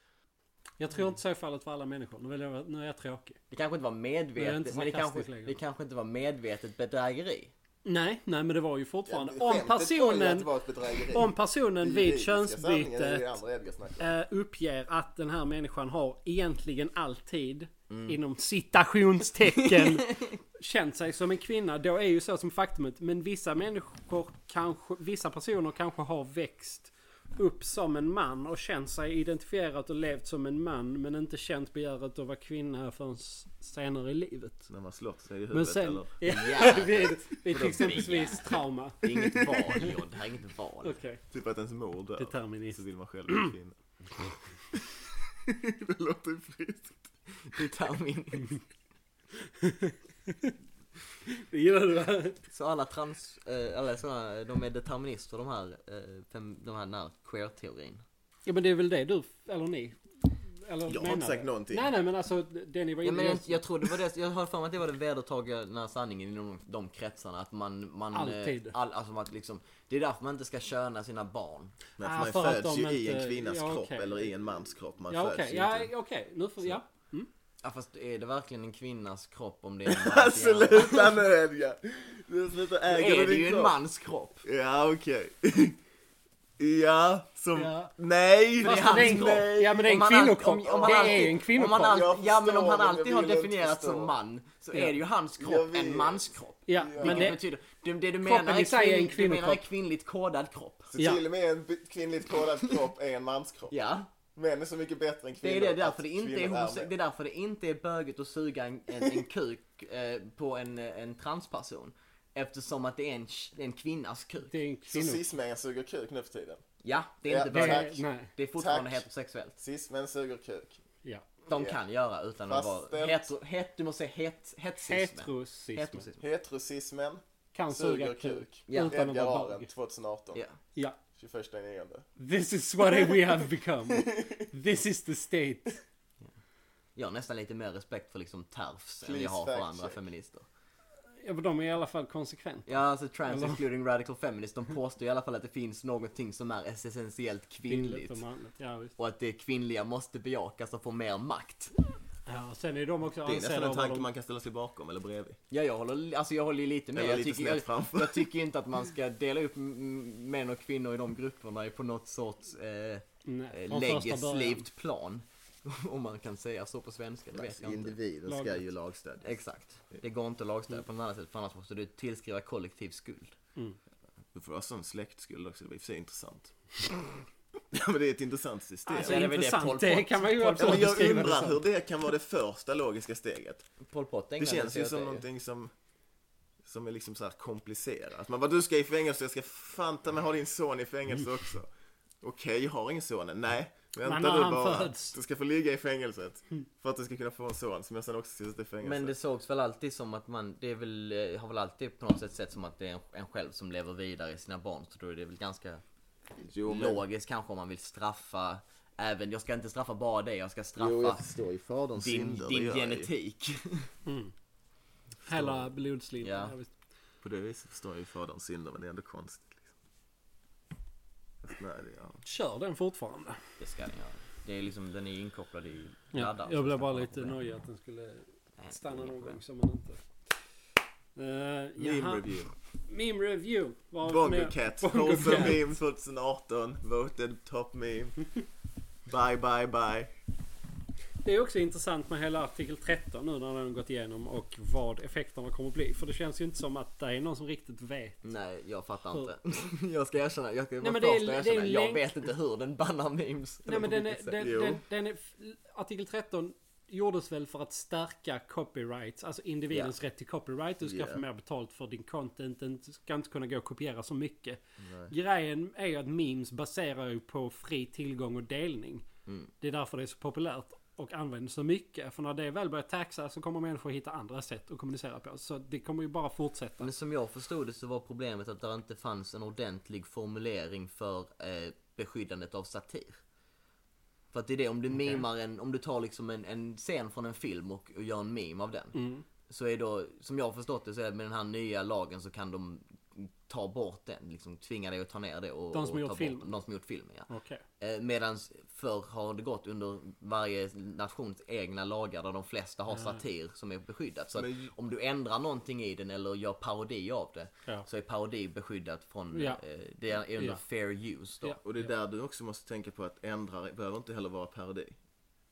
Speaker 1: Jag tror inte så är fallet för alla människor. Nu, vill jag, vara- nu är jag tråkig.
Speaker 2: Det kanske inte var
Speaker 1: Nej, det är
Speaker 2: medvetet,
Speaker 1: inte
Speaker 2: men det kanske,
Speaker 1: sarkastiskt längre.
Speaker 2: det kanske inte var medvetet bedrägeri.
Speaker 1: Nej, nej men det var ju fortfarande.
Speaker 3: Skämtet
Speaker 1: om
Speaker 3: var ju att
Speaker 1: personen,
Speaker 3: det var ett bedrägeri.
Speaker 1: om personen
Speaker 3: Den
Speaker 1: vid
Speaker 3: juridiska sanningen är
Speaker 1: könsbytet
Speaker 3: det andra Edgar snackar om.
Speaker 1: eh, uppger att den här människan har egentligen alltid inom citationstecken känt sig som en kvinna. Då är ju så som faktumet. Men vissa människor kanske, vissa personer kanske har växt upp som en man och känt sig identifierat och levt som en man men inte känt begäret att vara kvinna förrän s- senare i livet.
Speaker 4: När man slår sig i huvudet
Speaker 1: Men sen,
Speaker 4: eller?
Speaker 1: *laughs* ja,
Speaker 2: Jävligt.
Speaker 1: vid, vid till exempelvis trauma.
Speaker 2: Det är inget val John, det här är
Speaker 1: *laughs*
Speaker 2: inget val.
Speaker 1: Okej.
Speaker 4: Typ att ens mor dör.
Speaker 1: Determinist.
Speaker 4: Så vill man själv bli kvinna. det låter ju friskt.
Speaker 2: Det tar min...
Speaker 1: Det gillar du va?
Speaker 2: Så alla trans, eh, alla sådana, de är determinister de här, eh, fem- de här, den här queer-teorin.
Speaker 1: Ja men det är väl det du, eller ni? Eller
Speaker 4: Jag har
Speaker 1: menar
Speaker 4: inte sagt
Speaker 1: det?
Speaker 4: någonting.
Speaker 1: Nej nej men alltså det ni var
Speaker 2: Ja,
Speaker 1: inne
Speaker 2: men jag,
Speaker 1: ja,
Speaker 2: jag tror det var det, jag har för mig att det var den vedertagna sanningen inom de, de kretsarna att man, man eh,
Speaker 1: Alltid.
Speaker 2: All, alltså att liksom, det är därför man inte ska köna sina barn.
Speaker 4: Men
Speaker 1: Ah,
Speaker 4: för man
Speaker 1: för att
Speaker 4: föds
Speaker 1: de
Speaker 4: ju i
Speaker 1: inte-
Speaker 4: en kvinnas
Speaker 1: ja,
Speaker 4: kropp
Speaker 1: okej.
Speaker 4: eller i en mans kropp. Man
Speaker 1: Ja
Speaker 4: föds
Speaker 1: okej,
Speaker 4: ju
Speaker 1: ja
Speaker 4: inte.
Speaker 1: okej, nu får ja.
Speaker 2: Ja fast är det verkligen en kvinnas kropp om det är en
Speaker 1: *laughs*
Speaker 2: mans
Speaker 1: Alltså,
Speaker 2: hjärna?
Speaker 4: Alltså, Sluta nu Edgar! Du sluta
Speaker 2: Då
Speaker 4: äga
Speaker 2: är det
Speaker 4: din
Speaker 2: ju en
Speaker 4: kropp.
Speaker 2: mans kropp.
Speaker 4: Ja okej. *laughs* ja, som...
Speaker 1: Ja.
Speaker 4: Nej!
Speaker 1: Fast
Speaker 2: det är hans
Speaker 1: det är en-
Speaker 2: kropp.
Speaker 1: Ja men det är en
Speaker 2: Om han
Speaker 1: kvinnokropp.
Speaker 2: alltid- om- om han
Speaker 1: det
Speaker 2: alltid-
Speaker 1: är ju en
Speaker 2: Om han
Speaker 1: kvinnokropp.
Speaker 2: alltid,
Speaker 3: Jag
Speaker 2: ja men om
Speaker 3: förstår,
Speaker 2: han
Speaker 3: men
Speaker 2: alltid
Speaker 3: jag
Speaker 2: har
Speaker 3: vill inte
Speaker 2: definierats
Speaker 3: förstå.
Speaker 2: som man så
Speaker 1: Ja.
Speaker 2: är det ju hans
Speaker 3: Jag
Speaker 2: kropp
Speaker 3: vet.
Speaker 2: en manskropp.
Speaker 1: Ja men
Speaker 2: Vilket
Speaker 1: det,
Speaker 2: betyder, det, det du
Speaker 1: Kroppen
Speaker 2: menar
Speaker 1: i
Speaker 2: är,
Speaker 1: sig är en
Speaker 2: kvinn, du menar är
Speaker 1: kvinnokropp.
Speaker 2: kvinnligt kodad kropp.
Speaker 3: Så
Speaker 1: Ja.
Speaker 3: till och med en b- kvinnligt kodad kropp är en manskropp.
Speaker 2: Ja,
Speaker 3: Män är så mycket bättre än
Speaker 2: det
Speaker 3: kvinnor.
Speaker 2: är det, därför det,
Speaker 3: att
Speaker 2: inte är,
Speaker 3: kvinnor
Speaker 2: homose-
Speaker 3: män.
Speaker 2: det är därför det inte är böget att suga en, en, en kuk eh, på en, en transperson. Eftersom att det är en, en kvinnas kuk.
Speaker 1: det är en
Speaker 3: Så
Speaker 1: kvinno...
Speaker 3: cis-män suger kuk nu för tiden.
Speaker 2: Ja, det är
Speaker 3: Ja,
Speaker 1: Det
Speaker 2: inte böget.
Speaker 3: tack.
Speaker 1: är, nej,
Speaker 2: Det är fortfarande
Speaker 3: Tack.
Speaker 2: heterosexuellt.
Speaker 3: Cis-män suger kuk.
Speaker 1: ja.
Speaker 2: De
Speaker 3: Ja. eh,
Speaker 2: kan göra utan att vara
Speaker 3: Fastställt.
Speaker 2: hetero, het, du måste säga het, hetsismen.
Speaker 1: Heterosismen.
Speaker 2: Heterosismen.
Speaker 3: Heterocis-män
Speaker 1: Kan suga
Speaker 3: suger
Speaker 1: kuk.
Speaker 3: kuk.
Speaker 2: Ja.
Speaker 1: Utan att
Speaker 3: Edgar
Speaker 1: vara
Speaker 3: Ahren
Speaker 1: bög.
Speaker 3: 2018.
Speaker 2: Ja.
Speaker 1: Ja.
Speaker 3: 21 nionde.
Speaker 1: This is what we have become. This is the state.
Speaker 2: Jag har nästan lite mer respekt för liksom TERFs än
Speaker 3: Please
Speaker 2: jag har för
Speaker 3: fact
Speaker 2: andra
Speaker 3: check.
Speaker 2: feminister.
Speaker 1: Ja men de är i alla fall konsekventa.
Speaker 2: Ja, alltså trans
Speaker 1: Eller?
Speaker 2: including radical feminist, de påstår i alla fall att det finns någonting som är essentiellt
Speaker 1: Kvinnligt och
Speaker 2: kvinnligt.
Speaker 1: manligt. Ja, visst.
Speaker 2: Och att det kvinnliga måste bejakas och få mer makt.
Speaker 1: ja, och sen är de också
Speaker 4: Det är nästan
Speaker 1: ansedda
Speaker 4: en
Speaker 1: av vad
Speaker 4: tanke
Speaker 1: de
Speaker 4: man kan ställa sig bakom eller bredvid.
Speaker 2: Ja, jag håller, alltså jag håller ju lite med.
Speaker 4: Eller
Speaker 2: Jag
Speaker 4: lite
Speaker 2: tycker,
Speaker 4: snett
Speaker 2: jag,
Speaker 4: framför.
Speaker 2: jag tycker inte att man ska dela upp m- män och kvinnor i de grupperna på något sorts eh,
Speaker 1: Nej, från första början.
Speaker 2: legislativt plan. *laughs* Om man kan säga så på svenska, det vet jag inte.
Speaker 4: Alltså, individen
Speaker 1: ska Lagligt.
Speaker 4: ju lagstödjas.
Speaker 2: Exakt. Det går inte att
Speaker 4: Mm.
Speaker 2: lagstödja på något annat sätt för annars måste du tillskriva kollektiv skuld.
Speaker 4: Du får ha sån släktskuld också, det var i och för sig intressant. *laughs* ja men det är ett intressant system.
Speaker 1: Alltså
Speaker 2: Ja, det är väl det Pol
Speaker 1: intressant,
Speaker 2: Pot-
Speaker 1: det kan man ju
Speaker 2: Pol
Speaker 4: ja,
Speaker 1: absolut
Speaker 4: men jag
Speaker 1: beskriva det
Speaker 4: undrar
Speaker 1: som.
Speaker 4: hur det kan vara det första logiska steget.
Speaker 2: Pol Pot
Speaker 4: Det
Speaker 2: ägnade
Speaker 4: känns
Speaker 2: sig
Speaker 4: ju
Speaker 2: åt
Speaker 4: som
Speaker 2: det
Speaker 4: någonting som som är liksom så här komplicerat. Man bara, du ska i fängelse, jag ska fan ta mig ha din son i fängelse också. Okej, jag har ingen son än. Nej, vänta
Speaker 1: Men när
Speaker 4: du
Speaker 1: han
Speaker 4: bara.
Speaker 1: föds.
Speaker 4: Du ska få ligga i fängelset. För att du ska kunna få en son som jag sen också ska sitta i fängelse.
Speaker 2: Men det sågs väl alltid som att man, det är väl, eh, har väl alltid på något sätt sett som att det är en, en själv som lever vidare i sina barn. Så då är det väl ganska
Speaker 4: jo,
Speaker 2: logiskt kanske om man vill straffa även, jag ska inte straffa bara dig, jag ska straffa
Speaker 4: förstår ju faderns
Speaker 2: din,
Speaker 4: synder. det
Speaker 2: din
Speaker 4: gör jag ju.
Speaker 2: genetik. *laughs*
Speaker 1: Hela blodslinjen.
Speaker 2: Ja.
Speaker 1: Ja, visst.
Speaker 4: På det viset förstår jag ju faderns synder, men det är ändå konstigt. Liksom. Fast nej, det är ja.
Speaker 1: Kör den fortfarande.
Speaker 2: Det ska den göra. Det är liksom, den är inkopplad i
Speaker 1: Ja,
Speaker 2: laddaren
Speaker 1: jag
Speaker 2: som
Speaker 1: blev
Speaker 2: ska
Speaker 1: bara
Speaker 2: vara
Speaker 1: lite
Speaker 2: på den.
Speaker 1: nöjd att den skulle
Speaker 2: Nej,
Speaker 1: stanna
Speaker 2: inga
Speaker 1: någon
Speaker 2: problem.
Speaker 1: gång som man inte... Uh,
Speaker 4: Meme review.
Speaker 1: Meme review. Vad har vi
Speaker 4: Bongo
Speaker 1: mer?
Speaker 4: Cat.
Speaker 1: Bongo
Speaker 4: Wholesome
Speaker 1: Cat. *laughs*
Speaker 4: meme *laughs* 2018. Voted top meme. bye, bye, bye.
Speaker 1: Det är också intressant med hela artikel 13 nu när den har gått igenom och vad effekterna kommer bli. För det känns ju inte som att det är någon som riktigt vet.
Speaker 2: Nej, jag fattar
Speaker 1: Hur?
Speaker 2: inte. Jag ska erkänna, jag ska
Speaker 1: Nej,
Speaker 2: vara
Speaker 1: men
Speaker 2: först
Speaker 1: det är-
Speaker 2: och
Speaker 1: det är
Speaker 2: erkänna. Jag
Speaker 1: länk-
Speaker 2: vet inte hur den bannar memes.
Speaker 1: Nej
Speaker 2: eller
Speaker 1: men
Speaker 2: på
Speaker 1: den är,
Speaker 2: vilket sätt.
Speaker 1: den,
Speaker 4: Jo.
Speaker 1: den, den är, artikel 13 gjordes väl för att stärka copyrights, alltså individens rätt till copyright. Du ska
Speaker 4: Ja.
Speaker 1: få mer betalt för din content, den ska inte kunna gå och kopiera så mycket. Grejen är ju att memes baserar ju på fri tillgång och delning.
Speaker 4: Mm.
Speaker 1: Det är därför det är så populärt och används så mycket. För när det väl börjar taxa så kommer människor hitta andra sätt att kommunicera på. Så det kommer ju bara fortsätta.
Speaker 2: Men som jag förstod det så var problemet att det inte fanns en ordentlig formulering för eh, beskyddandet av satir. För att det är det, om du mimar en, om du tar liksom en, en scen från en film och, och gör en meme av den.
Speaker 4: Mm.
Speaker 1: Mm.
Speaker 2: Så är då, som jag har förstått det så är det med den här nya lagen så kan de ta bort den, liksom tvinga dig att ta ner det och
Speaker 1: De som
Speaker 2: och
Speaker 1: gjort
Speaker 2: ta bort-
Speaker 1: filmen.
Speaker 2: De som gjort filmen ja.
Speaker 1: Okej.
Speaker 2: Eh, Medans förr har det gått under varje nations egna lagar där de flesta har satir som är beskyddat. Så att
Speaker 4: Men-
Speaker 2: om du ändrar någonting i den eller gör parodi av det
Speaker 1: Ja.
Speaker 2: så är parodi beskyddat från,
Speaker 1: Ja.
Speaker 2: eh, det är under
Speaker 1: Ja.
Speaker 2: fair use då.
Speaker 1: Ja.
Speaker 4: Och det är där du också måste tänka på att ändra behöver inte heller vara parodi.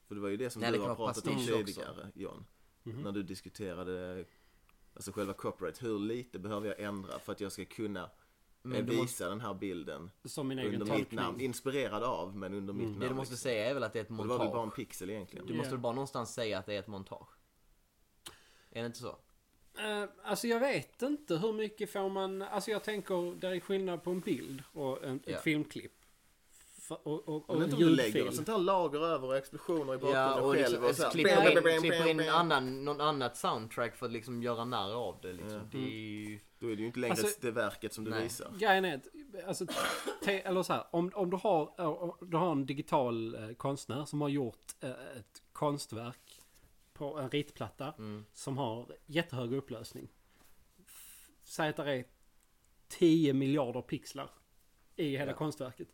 Speaker 4: För det var ju det som
Speaker 2: Nej,
Speaker 4: du
Speaker 2: det kan
Speaker 4: har
Speaker 2: vara
Speaker 4: pratat om
Speaker 2: pastisch också.
Speaker 4: tidigare, John.
Speaker 1: Mhm.
Speaker 4: När du diskuterade alltså själva copyright. Hur lite behöver jag ändra för att jag ska kunna eh,
Speaker 2: du
Speaker 4: visa den här bilden
Speaker 1: Som min egen
Speaker 4: under mitt namn?
Speaker 1: tolkning.
Speaker 4: Inspirerad av, men under mitt namn.
Speaker 2: Mm. Det du måste
Speaker 4: liksom.
Speaker 2: säga är väl att det är ett
Speaker 4: Och det var väl bara en
Speaker 2: montage.
Speaker 4: pixel egentligen.
Speaker 2: Du
Speaker 1: Ja.
Speaker 2: måste väl bara någonstans säga att det är ett montage. Är det inte så?
Speaker 1: Eh, alltså jag vet inte hur mycket får man... Alltså jag tänker, där är skillnad på en bild och en,
Speaker 2: Ja.
Speaker 1: ett filmklipp. F- och och, och
Speaker 4: Men
Speaker 1: en
Speaker 4: inte om du lägger
Speaker 1: ljudfil.
Speaker 4: något sånt här lager över och explosioner i
Speaker 2: Ja,
Speaker 4: bakgrunden
Speaker 2: och
Speaker 4: själv
Speaker 2: liksom,
Speaker 4: och så här.
Speaker 2: klippa
Speaker 4: Bam, bam,
Speaker 2: in,
Speaker 4: bam,
Speaker 2: klippa
Speaker 4: bam,
Speaker 2: in en
Speaker 4: bam.
Speaker 2: annan, någon annat soundtrack för att liksom göra narr av det liksom. Det är ju...
Speaker 4: Då är det ju inte längre
Speaker 1: Alltså-
Speaker 4: det verket som du
Speaker 2: Nej.
Speaker 4: visar.
Speaker 1: Grejen är att, alltså, te, eller så här, om, om du, har, eh, du har en digital eh, konstnär som har gjort eh, ett konstverk på en ritplatta som har jättehög upplösning. F- Säg att det är 10 miljarder pixlar i hela konstverket.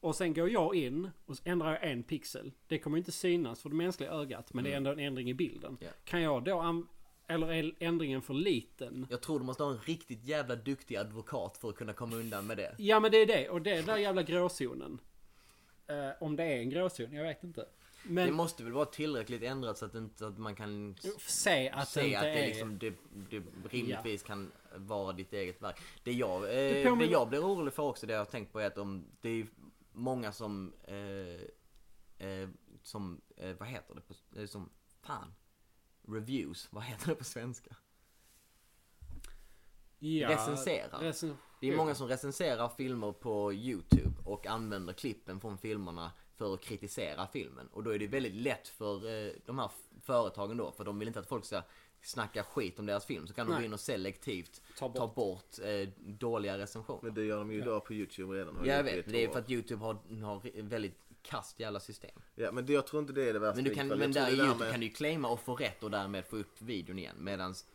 Speaker 1: Och sen går jag in och så ändrar jag en pixel. Det kommer ju inte synas för det mänskliga ögat men det är ändå en ändring i bilden.
Speaker 2: Ja.
Speaker 1: Kan jag då an- eller är ändringen för liten?
Speaker 2: Jag tror du måste ha en riktigt jävla duktig advokat för att kunna komma undan med det.
Speaker 1: Ja men det är det och det är den där jävla gråzonen. Eh, om det är en gråzon, jag vet inte.
Speaker 2: Det
Speaker 1: Men
Speaker 2: måste väl vara tillräckligt ändrat så att, det inte, så att man kan s-
Speaker 1: se att det
Speaker 2: se
Speaker 1: inte
Speaker 2: att det,
Speaker 1: är...
Speaker 2: liksom, det, det rimligtvis kan vara ditt eget verk. Det jag, eh, det,
Speaker 1: påminner-
Speaker 2: jag blir orolig för också, det jag har tänkt på är att om det är många som, eh, eh, som eh, vad heter det på, eh, som, fan, reviews, vad heter det på svenska?
Speaker 1: ja,
Speaker 2: recenserar.
Speaker 1: recen-
Speaker 2: Det är många som recenserar filmer på Youtube och använder klippen från filmerna för att kritisera filmen. Och då är det väldigt lätt för eh, de här f- företagen då, för de vill inte att folk ska snacka skit om deras film. Så kan de
Speaker 1: Nej.
Speaker 2: gå in och selektivt
Speaker 1: Ta
Speaker 2: ta
Speaker 1: bort.
Speaker 2: bort, eh, dåliga recensioner.
Speaker 4: Men det gör de ju idag på YouTube redan. har
Speaker 2: jag
Speaker 4: gjort i
Speaker 2: vet,
Speaker 4: ett
Speaker 2: men det är
Speaker 4: år.
Speaker 2: för att Youtube har, har väldigt kast jävla system.
Speaker 4: Ja, men det, jag tror inte det är det värsta.
Speaker 2: Men, du kan,
Speaker 4: utfallet.
Speaker 2: men där i
Speaker 4: Alltså, Jag tror det
Speaker 2: Youtube kan du ju claima och få rätt och därmed få upp videon igen. Medans,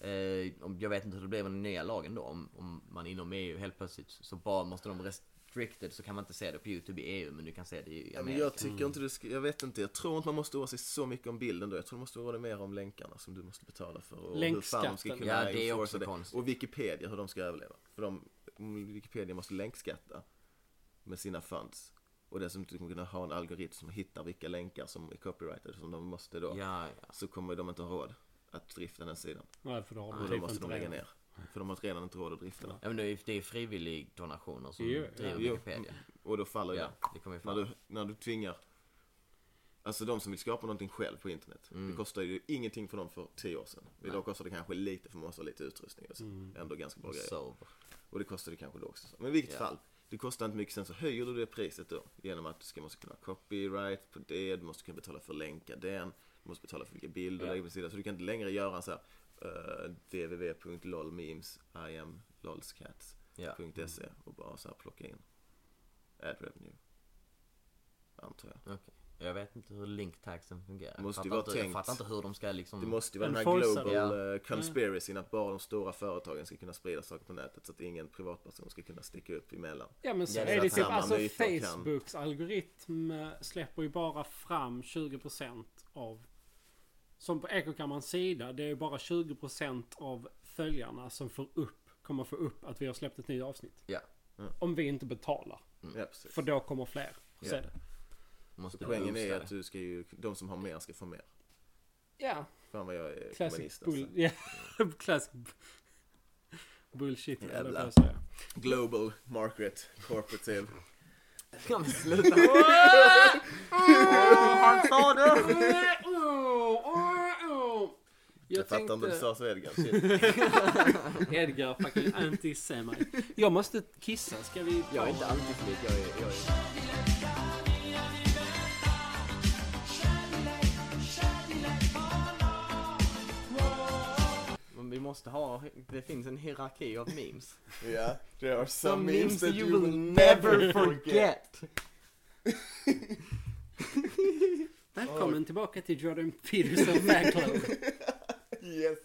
Speaker 2: eh, om- jag vet inte hur det blev med den nya lagen då. Om, om man inom EU helt plötsligt så bara måste de restricted så kan man inte se det på Youtube i EU men du kan se det i
Speaker 4: Ja, men
Speaker 2: Amerika.
Speaker 4: jag tycker inte du ska, jag vet inte, jag tror inte man måste oroa sig så mycket om bilden då. Jag tror man måste oroa dig mer om länkarna som du måste betala för. Och hur fan de ska
Speaker 1: Länkskatten.
Speaker 4: kunna
Speaker 2: Ja, det är
Speaker 4: enforca
Speaker 2: också konstigt.
Speaker 4: Och Wikipedia, hur de ska överleva. För de, Wikipedia måste länkskatta med sina funds. Och dessutom kommer kunna ha en algoritm som hittar vilka länkar som är copyrightade som de måste då.
Speaker 2: Ja, ja.
Speaker 4: Så kommer de inte ha råd att drifta den sidan.
Speaker 1: Nej, för då har man
Speaker 4: Och då
Speaker 1: typ
Speaker 4: måste
Speaker 1: inte
Speaker 4: de lägga
Speaker 1: det.
Speaker 4: ner. För de har redan inte råd att drifta den.
Speaker 2: ja men det är- det är frivillig donationer som
Speaker 1: Jo, ja.
Speaker 2: driver
Speaker 4: Jo,
Speaker 2: Wikipedia.
Speaker 4: Och då faller ju
Speaker 2: Ja,
Speaker 4: det.
Speaker 2: det kommer ju
Speaker 4: När
Speaker 2: fram.
Speaker 4: du, när du tvingar Alltså de som vill skapa någonting själv på internet Det kostar ju ingenting för dem för tio år sedan Idag kostar det kanske lite för man måste ha lite utrustning och så. Ändå ganska bra grejer
Speaker 2: Server.
Speaker 4: Och det kostar det kanske då också Men i vilket
Speaker 2: Ja.
Speaker 4: fall Det kostar inte mycket sen så höjer du det priset då Genom att du ska, måste kunna ha copyright på det Du måste kunna betala för att länka den Du måste betala för vilka bilder
Speaker 1: Ja.
Speaker 4: du lägger på sidan Så du kan inte längre göra en så här uh, www.lolmemes I am lolscats
Speaker 2: Ja.
Speaker 4: .se E och bara så här plocka in ad revenue. Antar jag.
Speaker 2: Okej. Jag vet inte hur linktaxen fungerar. Jag
Speaker 4: Måste
Speaker 2: fattar
Speaker 4: ju vara
Speaker 2: inte, jag
Speaker 4: tänkt.
Speaker 2: fattar inte hur de ska liksom...
Speaker 4: Det måste ju vara
Speaker 1: En Mm.
Speaker 4: den här
Speaker 1: forced-
Speaker 4: global
Speaker 2: Ja.
Speaker 4: eh, conspiracy att bara de stora företagen ska kunna sprida saker på nätet så att ingen privatperson ska kunna sticka upp emellan.
Speaker 1: Ja men så
Speaker 2: Ja, det
Speaker 1: är
Speaker 2: är
Speaker 1: det
Speaker 2: så
Speaker 1: typ,
Speaker 4: att
Speaker 1: alltså
Speaker 4: man myter kan-
Speaker 1: Facebooks algoritm eh, släpper ju bara fram 20% av... Som på Ekokammarens sida, det är bara 20% av följarna som får upp, kommer få upp att vi har släppt ett nytt avsnitt.
Speaker 2: Ja.
Speaker 1: Om vi inte betalar.
Speaker 3: Mm.
Speaker 4: Ja, precis.
Speaker 1: För då kommer fler. Så
Speaker 2: Ja.
Speaker 1: är det.
Speaker 2: Måste
Speaker 4: Poängen
Speaker 2: boosta
Speaker 4: är
Speaker 2: det.
Speaker 4: att du ska ju, de som har mer ska få mer.
Speaker 1: Ja,
Speaker 4: Fan vad jag är
Speaker 1: classic,
Speaker 4: kommunist
Speaker 1: bull,
Speaker 4: alltså.
Speaker 1: ja, *laughs* classic bu- bullshit. eller
Speaker 4: Jävlar.
Speaker 1: vad jag säger.
Speaker 4: Global market
Speaker 3: *laughs*
Speaker 4: corporative.
Speaker 2: Ja,
Speaker 4: *laughs*
Speaker 2: men sluta. Han sa det!
Speaker 1: Jag
Speaker 4: Jag fattar inte, du
Speaker 1: tänkte
Speaker 4: sa
Speaker 3: *laughs*
Speaker 4: så Edgar. Shit.
Speaker 1: Edgar fucking antisemite. Jag måste kissa, ska vi?
Speaker 2: Jag är inte antisemit, jag är... Jag är... Men vi måste ha, det finns en hierarki av memes.
Speaker 3: Yeah, there are some,
Speaker 2: Some
Speaker 3: memes that you will never forget.
Speaker 1: Välkommen tillbaka till Jordan Peterson fanclub.
Speaker 3: Yes.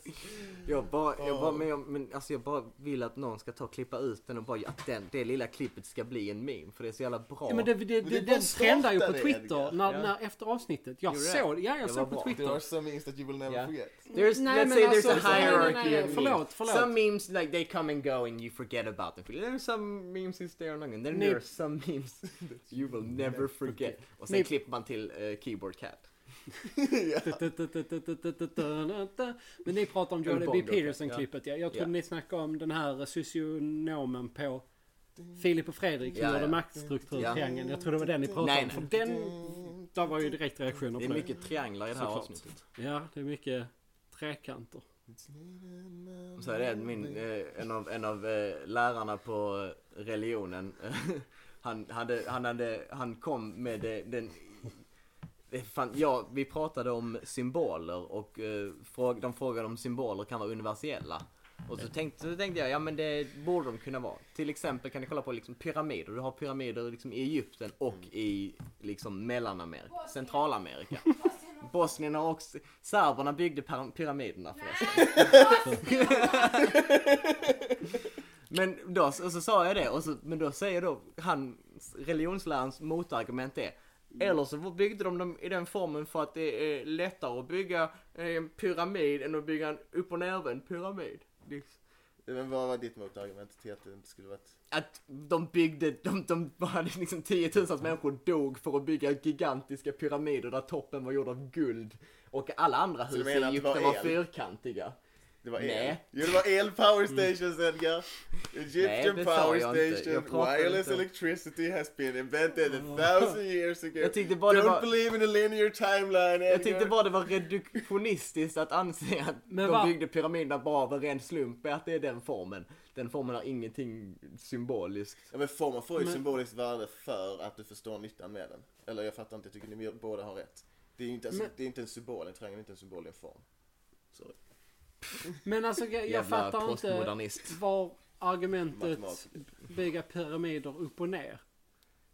Speaker 2: Jag bara, jag bara,
Speaker 3: Åh.
Speaker 2: men, jag, men alltså jag bara vill att någon ska ta och klippa ut den och bara att den, det lilla klippet ska bli en meme för det är så jävla bra.
Speaker 1: Ja, men det, det,
Speaker 3: Men
Speaker 1: det,
Speaker 3: det
Speaker 1: den
Speaker 3: bara
Speaker 1: trendar ju på
Speaker 3: startade,
Speaker 1: Twitter
Speaker 3: Edgar.
Speaker 1: när,
Speaker 2: Ja.
Speaker 1: när, efter avsnittet. Jag
Speaker 2: Gjorde det?
Speaker 1: såg, ja, jag
Speaker 2: Det
Speaker 1: såg
Speaker 2: var
Speaker 1: på
Speaker 2: bra.
Speaker 1: Twitter.
Speaker 3: There are some memes that you will never
Speaker 2: Yeah.
Speaker 3: forget. *laughs*
Speaker 2: There's,
Speaker 1: Nej,
Speaker 2: let's
Speaker 1: men
Speaker 2: say there's
Speaker 1: alltså,
Speaker 2: a
Speaker 1: nej, nej,
Speaker 2: hierarchy
Speaker 1: nej,
Speaker 2: of
Speaker 1: förlåt,
Speaker 2: memes.
Speaker 1: förlåt.
Speaker 2: Some memes like they come and go and you forget about them. There's some memes you stay on and then
Speaker 1: Ni-
Speaker 2: there are some memes that
Speaker 1: *laughs*
Speaker 2: you will never forget. Och sen
Speaker 1: Ni-
Speaker 2: klipper man till eh, Keyboard Cat.
Speaker 1: Men ni pratar om Jordan B.
Speaker 2: Bongo,
Speaker 1: Peterson-klippet. Ja. Jag trodde
Speaker 2: Ja.
Speaker 1: ni snackade om den här socionomen på Filip och Fredrik som
Speaker 2: Ja,
Speaker 1: gjorde
Speaker 2: ja.
Speaker 1: maktstrukturtängen. Jag tror det var den ni pratade
Speaker 2: Nej,
Speaker 1: om. För
Speaker 2: nej.
Speaker 1: den, där var ju direkt reaktioner
Speaker 2: Det är
Speaker 1: på det.
Speaker 2: mycket trianglar i det här
Speaker 1: Såklart.
Speaker 2: avsnittet.
Speaker 1: Ja, det är mycket trekanter.
Speaker 2: Så är det min, eh, en av, en av eh, lärarna på eh, religionen. *laughs* eh, han, hade, han, hade, han kom med eh, den... det Fan, ja, vi pratade om symboler och eh, fråg, de frågade om symboler kan vara universella. Och så tänkte, så tänkte jag, ja men det borde de kunna vara. Till exempel kan ni kolla på liksom pyramider. Du har pyramider liksom i Egypten och i liksom Mellanamerika, Centralamerika. Bosnierna och s- serberna byggde pyra- pyramiderna förresten. Men då, och så sa jag det, och så, men då säger då han, religionslärarens motargument är eller så byggde de dem i den formen för att det är lättare att bygga en pyramid än att bygga en upp och nervänd pyramid. Liksom.
Speaker 3: Men vad var ditt motargument till att det inte skulle varit...
Speaker 2: Att de byggde, de, de hade liksom tiotusentals människor dog för att bygga gigantiska pyramider där toppen var gjord av guld. Och alla andra
Speaker 3: Så du
Speaker 2: hus i
Speaker 3: menar att det
Speaker 2: Egypten
Speaker 3: var
Speaker 2: var
Speaker 3: el?
Speaker 2: fyrkantiga.
Speaker 3: Det var el.
Speaker 2: Nej.
Speaker 3: Jo, det var el
Speaker 1: Mm.
Speaker 3: power stations Edgar. Egyptian
Speaker 2: Nej, det sa
Speaker 3: power
Speaker 2: jag inte.
Speaker 3: station.
Speaker 2: Jag pratar
Speaker 3: Wireless
Speaker 2: inte om-
Speaker 3: electricity has been invented a thousand years ago.
Speaker 2: Jag tyckte bara det
Speaker 3: Don't
Speaker 2: var-
Speaker 3: believe in a linear timeline Edgar.
Speaker 2: Jag tyckte bara det var reduktionistiskt att anse att
Speaker 1: Men
Speaker 2: de
Speaker 1: va-
Speaker 2: byggde pyramiderna bara av en ren slump, att det är den formen. Den formen har ingenting symboliskt.
Speaker 3: Ja, men formen får ju
Speaker 1: Men-
Speaker 3: symboliskt värde för att du förstår nyttan med den. Eller jag fattar inte, jag tycker ni båda har rätt. Det är ju inte, alltså,
Speaker 1: Men-
Speaker 3: det är inte en symbol, en triangel är inte en symbol, det är en form. Sorry.
Speaker 1: Men alltså jag, jag
Speaker 2: Jävla
Speaker 1: fattar inte
Speaker 2: postmodernist.
Speaker 1: var argumentet
Speaker 3: Matematiker.
Speaker 1: bygga pyramider upp och ner.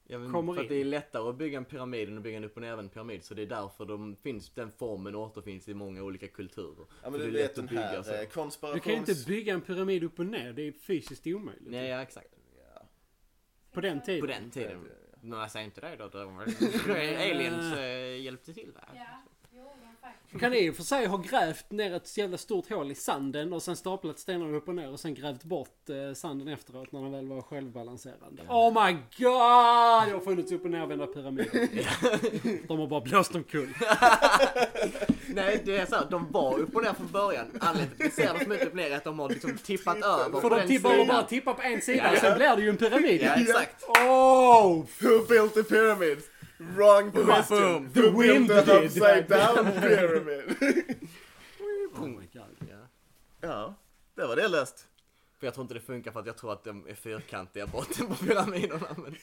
Speaker 2: Ja, men
Speaker 1: Kommer
Speaker 2: för att
Speaker 1: in.
Speaker 2: det är lättare att bygga en pyramid än att bygga en upp och nervänd pyramid, så det är därför de finns, den formen återfinns i många olika kulturer.
Speaker 3: Ja
Speaker 2: För
Speaker 3: men
Speaker 2: det
Speaker 3: du
Speaker 2: är
Speaker 3: vet
Speaker 2: lätt
Speaker 3: den
Speaker 2: att bygga så.
Speaker 3: här eh, konspirations...
Speaker 1: Du kan ju inte bygga en pyramid upp och ner. Det är fysiskt omöjligt.
Speaker 2: Nej, ja, exakt.
Speaker 1: På den tiden.
Speaker 2: På den tiden.
Speaker 3: Ja, ja,
Speaker 2: Men jag säger inte det då. då- *laughs* Aliens äh, hjälpte till där.
Speaker 5: Ja, jo men faktiskt.
Speaker 1: Du kan i och för sig ha grävt ner ett jävla stort hål i sanden och sen staplat stenarna upp och ner och sen grävt bort eh, sanden efteråt när de väl var självbalanserande. Oh my god! Det har funnits upp och nervända pyramider. de har bara blåst omkull.
Speaker 2: Nej, det är så här, de var upp och ner från början. Anledningen till att vi ser dem som inte upp och ner är att de har liksom tippat över.
Speaker 1: För
Speaker 2: på
Speaker 1: de
Speaker 2: den
Speaker 1: tippar ju
Speaker 2: sidan.
Speaker 1: bara tippar på en sida
Speaker 2: Ja,
Speaker 1: och
Speaker 2: ja.
Speaker 1: sen blir det ju en pyramid.
Speaker 2: Ja, exakt.
Speaker 1: Oh!
Speaker 3: Who built the pyramids? Wrong question!
Speaker 1: The
Speaker 3: Who
Speaker 1: wind
Speaker 3: built an
Speaker 1: did.
Speaker 3: upside
Speaker 4: *laughs*
Speaker 3: down pyramid?
Speaker 1: oh my god.
Speaker 2: Ja.
Speaker 3: ja, där var det löst.
Speaker 2: För jag tror inte det funkar för att jag tror att de är fyrkantiga botten på pyramiderna. Men...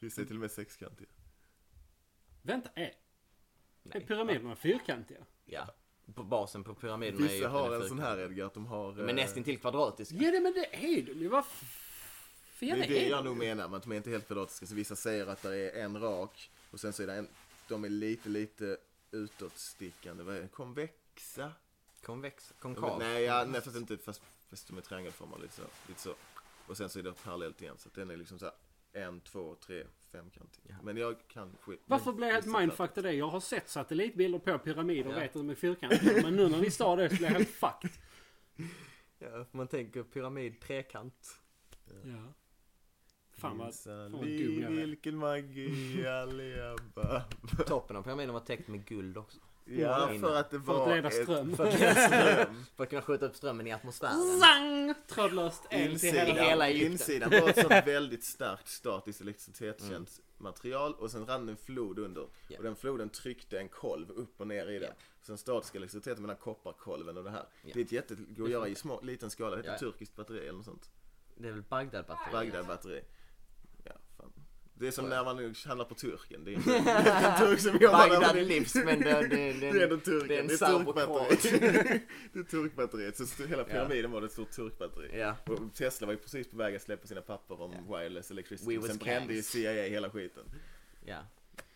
Speaker 3: Vissa är till och med sexkantiga.
Speaker 1: Vänta, är, är
Speaker 2: Nej.
Speaker 1: pyramiderna fyrkantiga?
Speaker 2: Ja. På basen på pyramiderna
Speaker 4: Vissa
Speaker 2: att den
Speaker 4: har en sån
Speaker 2: fyrkantig.
Speaker 4: här Edgar, att de har... eh,
Speaker 2: Men nästan till kvadratiska.
Speaker 1: Ja, det, men det är de ju. Vad f-
Speaker 4: Det
Speaker 1: fel
Speaker 4: är det
Speaker 1: är
Speaker 4: jag
Speaker 1: de?
Speaker 4: nog menar med att de är inte helt kvadratiska. Så vissa säger att det är en rak och sen så är det en... De är lite, lite utåtstickande. Vad är det? Konvexa?
Speaker 2: Konvex, konkav.
Speaker 4: Nej, ja, nej fast inte, fast, fast de är triangelformade lite så, lite så. Och sen så är det parallellt igen, så att den är liksom så här en, två, tre, femkantig.
Speaker 2: Ja.
Speaker 4: Men jag kan skit.
Speaker 1: Varför
Speaker 4: men-
Speaker 1: blir jag helt
Speaker 4: gissa på-
Speaker 1: mindfucked av det? Jag har sett satellitbilder på pyramider och
Speaker 2: Ja.
Speaker 1: vet att de är fyrkantiga. Men nu när ni sa det så blev jag helt fucked.
Speaker 2: Ja, man tänker pyramid trekant.
Speaker 1: Ja. Fan vad...
Speaker 4: Sally,
Speaker 1: vad dum jag är.
Speaker 4: vilken magi alleba.
Speaker 2: Toppen av pyramiden var täckt med guld också.
Speaker 4: Ja,
Speaker 2: Innan.
Speaker 4: för att det
Speaker 1: För att
Speaker 4: var
Speaker 1: leda
Speaker 4: ett-
Speaker 1: ström.
Speaker 4: för att leda ström.
Speaker 2: För att kunna skjuta upp strömmen i atmosfären.
Speaker 1: Zang! Trådlöst el till
Speaker 4: *laughs* Insidan,
Speaker 1: hela...
Speaker 2: hela Egypten.
Speaker 4: insidan var
Speaker 2: *laughs*
Speaker 4: ett sånt väldigt starkt statiskt elektricitetskänt material och sen rann en flod under.
Speaker 2: Mm. Ja.
Speaker 4: Och den floden tryckte en kolv upp och ner i den.
Speaker 2: Ja.
Speaker 4: Sen statiska elektriciteten mellan kopparkolven och det här.
Speaker 2: Ja. Mm.
Speaker 4: Det är ett jätte, går att göra i små, liten skala, det heter
Speaker 2: Ja, ja.
Speaker 4: turkiskt batteri eller något sånt.
Speaker 2: Det är väl Bagdad-batteriet?
Speaker 4: Bagdad-batteri. Ja, fan. Det är som
Speaker 2: Ja.
Speaker 4: när man handlar på turken. Det
Speaker 2: *laughs*
Speaker 4: är inte det är inte en turk som jobbar där.
Speaker 2: Bagdad
Speaker 4: men det-
Speaker 2: Livs, men det, det, det,
Speaker 4: Det är ändå
Speaker 2: det
Speaker 4: turken. Det
Speaker 2: är en
Speaker 4: är
Speaker 2: sauerkraut.
Speaker 4: turkbatteriet. *laughs* Det är turkbatteriet. Så st- hela pyramiden var det ett stort turkbatteri.
Speaker 2: Ja.
Speaker 4: Och Tesla var ju precis på väg att släppa sina papper om wireless
Speaker 2: We
Speaker 4: electricity.
Speaker 2: was
Speaker 4: Sen brände ju
Speaker 2: kings.
Speaker 4: CIA hela skiten.
Speaker 2: Ja,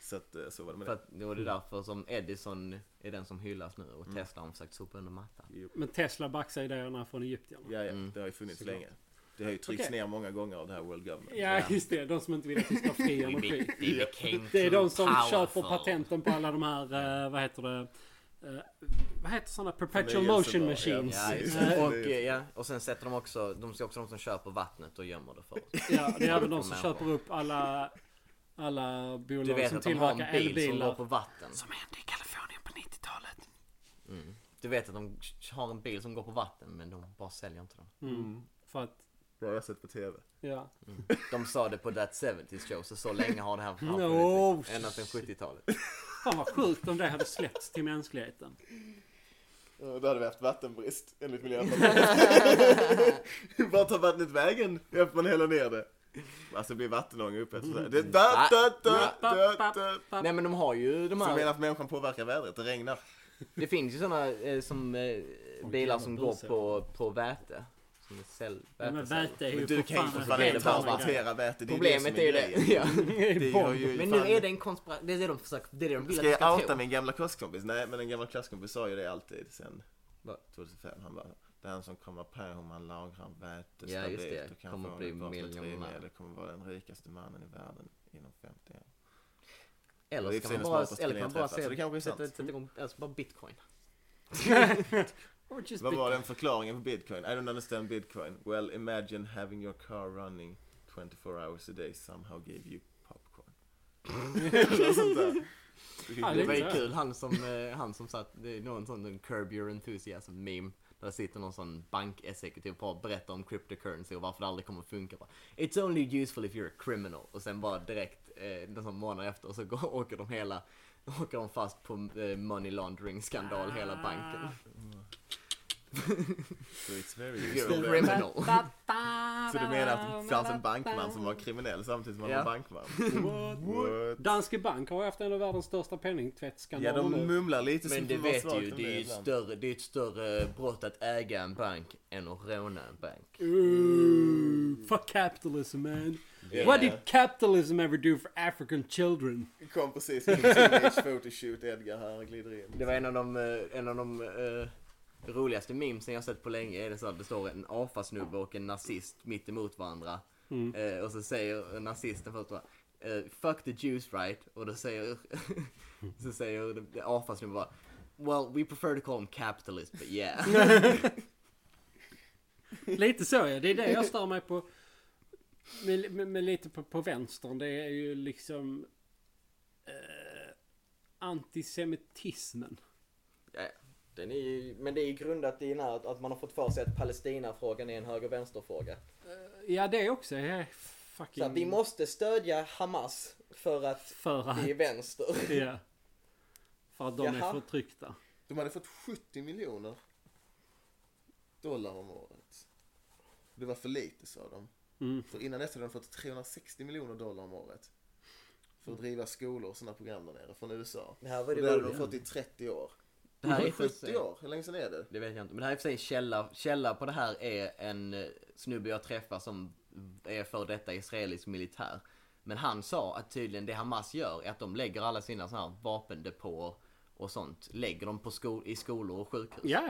Speaker 4: Så att eh, så var det med
Speaker 2: för
Speaker 4: det.
Speaker 2: att det var det därför som Edison är den som hyllas nu och Tesla har försökt sopa under mattan.
Speaker 4: Jo.
Speaker 1: Men Tesla baxar idéerna från Egypten.
Speaker 4: Ja, ja,
Speaker 2: Mm.
Speaker 4: det har ju funnits
Speaker 1: Såklart.
Speaker 4: länge. Det har ju tryckts
Speaker 1: Okej.
Speaker 4: ner många gånger av det här World Government.
Speaker 1: Ja,
Speaker 2: Ja.
Speaker 1: just det. De som inte vill att vi ska ha
Speaker 2: *laughs*
Speaker 1: fri
Speaker 2: We
Speaker 1: energi.
Speaker 2: be- we became
Speaker 1: Det är de
Speaker 2: too
Speaker 1: som köper
Speaker 2: powerful.
Speaker 1: patenten på alla de här, eh, vad heter det? Eh, vad heter sådana? Perpetual
Speaker 4: Förnyelsebara,
Speaker 1: motion
Speaker 4: ja.
Speaker 1: machines.
Speaker 2: Ja, just
Speaker 1: Eh,
Speaker 2: det. och, eh, ja, och sen sätter de också, de ser också de som köper vattnet och gömmer det för oss.
Speaker 1: Ja, det är även de
Speaker 2: Människor.
Speaker 1: som köper upp alla, alla
Speaker 2: Du
Speaker 1: bolag
Speaker 2: vet
Speaker 1: som
Speaker 2: att de har
Speaker 1: tillverkar
Speaker 2: en bil som
Speaker 1: elbilar.
Speaker 2: går på vatten.
Speaker 1: Som hände i Kalifornien på 90-talet.
Speaker 2: Du vet att de har en bil som går på vatten men de bara säljer inte den.
Speaker 1: Mm. För att,
Speaker 4: Det har jag sett på TV.
Speaker 1: ja.
Speaker 2: De sa det på That 70s show så så länge har det här
Speaker 1: *laughs*
Speaker 2: funnits.
Speaker 1: No,
Speaker 2: Ända sedan 70-talet.
Speaker 1: Fan vad sjukt om det hade släppts till mänskligheten.
Speaker 4: Ja, Eh, Då hade vi haft vattenbrist enligt Miljöpartiet. *laughs* Vart tar vattnet vägen efter man häller ner det? Alltså det blir vattenånga uppe efter det. det da, da, da, da, da.
Speaker 2: Nej men de har ju de
Speaker 4: Så menar
Speaker 2: här.
Speaker 4: att människan påverkar vädret? Det regnar.
Speaker 2: Det finns ju sådana eh, som eh, bilar som
Speaker 1: jävla
Speaker 2: går
Speaker 1: busar.
Speaker 2: på, på väte. Som är cell,
Speaker 1: Ja, men
Speaker 2: väteceller.
Speaker 1: väte är ju
Speaker 4: Men du
Speaker 1: för
Speaker 4: kan ju
Speaker 1: fan
Speaker 4: för
Speaker 1: en
Speaker 4: fan
Speaker 2: det är
Speaker 4: inte
Speaker 1: helt
Speaker 2: bara
Speaker 1: annan grej.
Speaker 4: transportera väte. Det är
Speaker 2: Problemet är ju det.
Speaker 4: grejen.
Speaker 2: Ja.
Speaker 4: Det gör
Speaker 1: Bomb.
Speaker 4: ju
Speaker 2: Men nu
Speaker 4: fan-
Speaker 2: är det en konspiration. Det är det de försöker, det är det de vill
Speaker 4: Ska
Speaker 2: att du
Speaker 4: jag
Speaker 2: ska
Speaker 4: outa
Speaker 2: tro.
Speaker 4: min gamla klasskompis? Nej, men en gammal klasskompis sa ju det alltid sen
Speaker 2: Va?
Speaker 4: 2005. Han bara, den som kommer på hur man lagrar väte
Speaker 2: Ja, just det.
Speaker 4: stabilt och kan
Speaker 2: Kommer
Speaker 4: få
Speaker 2: bli
Speaker 4: det bort med
Speaker 2: miljonär.
Speaker 4: drivmedel kommer vara den rikaste mannen i världen inom 50 år.
Speaker 2: Eller
Speaker 4: Det är
Speaker 2: så kan man
Speaker 4: precis
Speaker 2: bara,
Speaker 4: som att
Speaker 2: eller kan man bara
Speaker 4: träffas, så det kanske
Speaker 2: säga, sätta,
Speaker 4: är sant.
Speaker 2: sätta igång, alltså bara bitcoin.
Speaker 4: *laughs*
Speaker 1: Or just
Speaker 4: Vad
Speaker 1: bit-
Speaker 4: var den förklaringen på bitcoin? I don't understand bitcoin. Well, imagine having your car running 24 hours a day somehow gave you popcorn. Eller
Speaker 2: *laughs*
Speaker 4: sånt där.
Speaker 1: Ja,
Speaker 2: Det
Speaker 1: det
Speaker 2: var ju
Speaker 1: är
Speaker 2: kul, han som, eh, han som satt, det är någon sån en curb your enthusiasm meme. Där sitter någon sån bankexekutiv och bara berättar om cryptocurrency och varför det aldrig kommer att funka. Bara, It's only useful if you're a criminal. Och sen bara direkt, eh, någon sån månad efter, så går, *laughs* åker de hela, åker de fast på eh, money laundering skandal hela *laughs* banken.
Speaker 4: So it's very
Speaker 2: You're a
Speaker 4: useful.
Speaker 2: criminal.
Speaker 4: Så du menar att det fanns en bankman som var kriminell samtidigt som han
Speaker 2: Ja.
Speaker 4: var bankman? What?
Speaker 1: Danske Bank har ju haft en av världens största
Speaker 4: Ja,
Speaker 1: penningtvättsskandaler
Speaker 4: de
Speaker 1: nu.
Speaker 4: mumlar lite
Speaker 2: Men
Speaker 4: som
Speaker 2: det
Speaker 4: var
Speaker 2: vet
Speaker 4: svagt
Speaker 2: ju,
Speaker 4: om
Speaker 2: det är ju
Speaker 4: ibland.
Speaker 2: större, det är ett större brott att äga en bank än att råna en bank.
Speaker 1: Ooh, fuck capitalism man.
Speaker 4: Yeah.
Speaker 1: What did capitalism ever do for African children?
Speaker 4: Kom precis in i teenage photoshoot Edgar här och glider in.
Speaker 2: Det var en av de, eh, en av de eh, roligaste memesen jag sett på länge. Är det så att det står en AFA-snubbe och en nazist mitt emot varandra. Eh, och så säger nazisten först bara eh, Fuck the Jews right? Och då säger, *laughs* så säger AFA-snubben bara Well, we prefer to call them capitalist, but yeah.
Speaker 1: Lite så ja, det är det jag stör mig på. Med, med, med lite på, på vänstern, det är ju liksom eh, antisemitismen.
Speaker 2: Ja, Den är ju, men det är ju grundat i den här att- att man har fått för sig att Palestinafrågan är en höger och vänsterfråga.
Speaker 1: Ja, det också. Jag är
Speaker 2: Så att vi
Speaker 1: fucking...
Speaker 2: måste stödja Hamas för att
Speaker 1: För att...
Speaker 2: vi är vänster.
Speaker 1: Ja. För att de
Speaker 2: Jaha.
Speaker 1: är förtryckta.
Speaker 4: De hade fått 70 miljoner dollar om året. Det var för lite sa de.
Speaker 1: Mm.
Speaker 4: För innan dess hade de fått 360 miljoner dollar om året. För att driva skolor och sådana program där nere från USA.
Speaker 2: Det här var
Speaker 4: Och
Speaker 2: det
Speaker 4: det hade de
Speaker 2: roliga.
Speaker 4: fått i 30 år.
Speaker 2: Det här är
Speaker 4: 70 år, hur länge sedan är det?
Speaker 2: Det vet jag inte. Men det här är i och för sig en källa. Källa på det här är en eh, snubbe jag träffar som är för detta israelisk militär. Men han sa att tydligen det Hamas gör är att de lägger alla sina såna här vapendepåer och sånt. Lägger dem på sko- i skolor och sjukhus.
Speaker 1: Ja.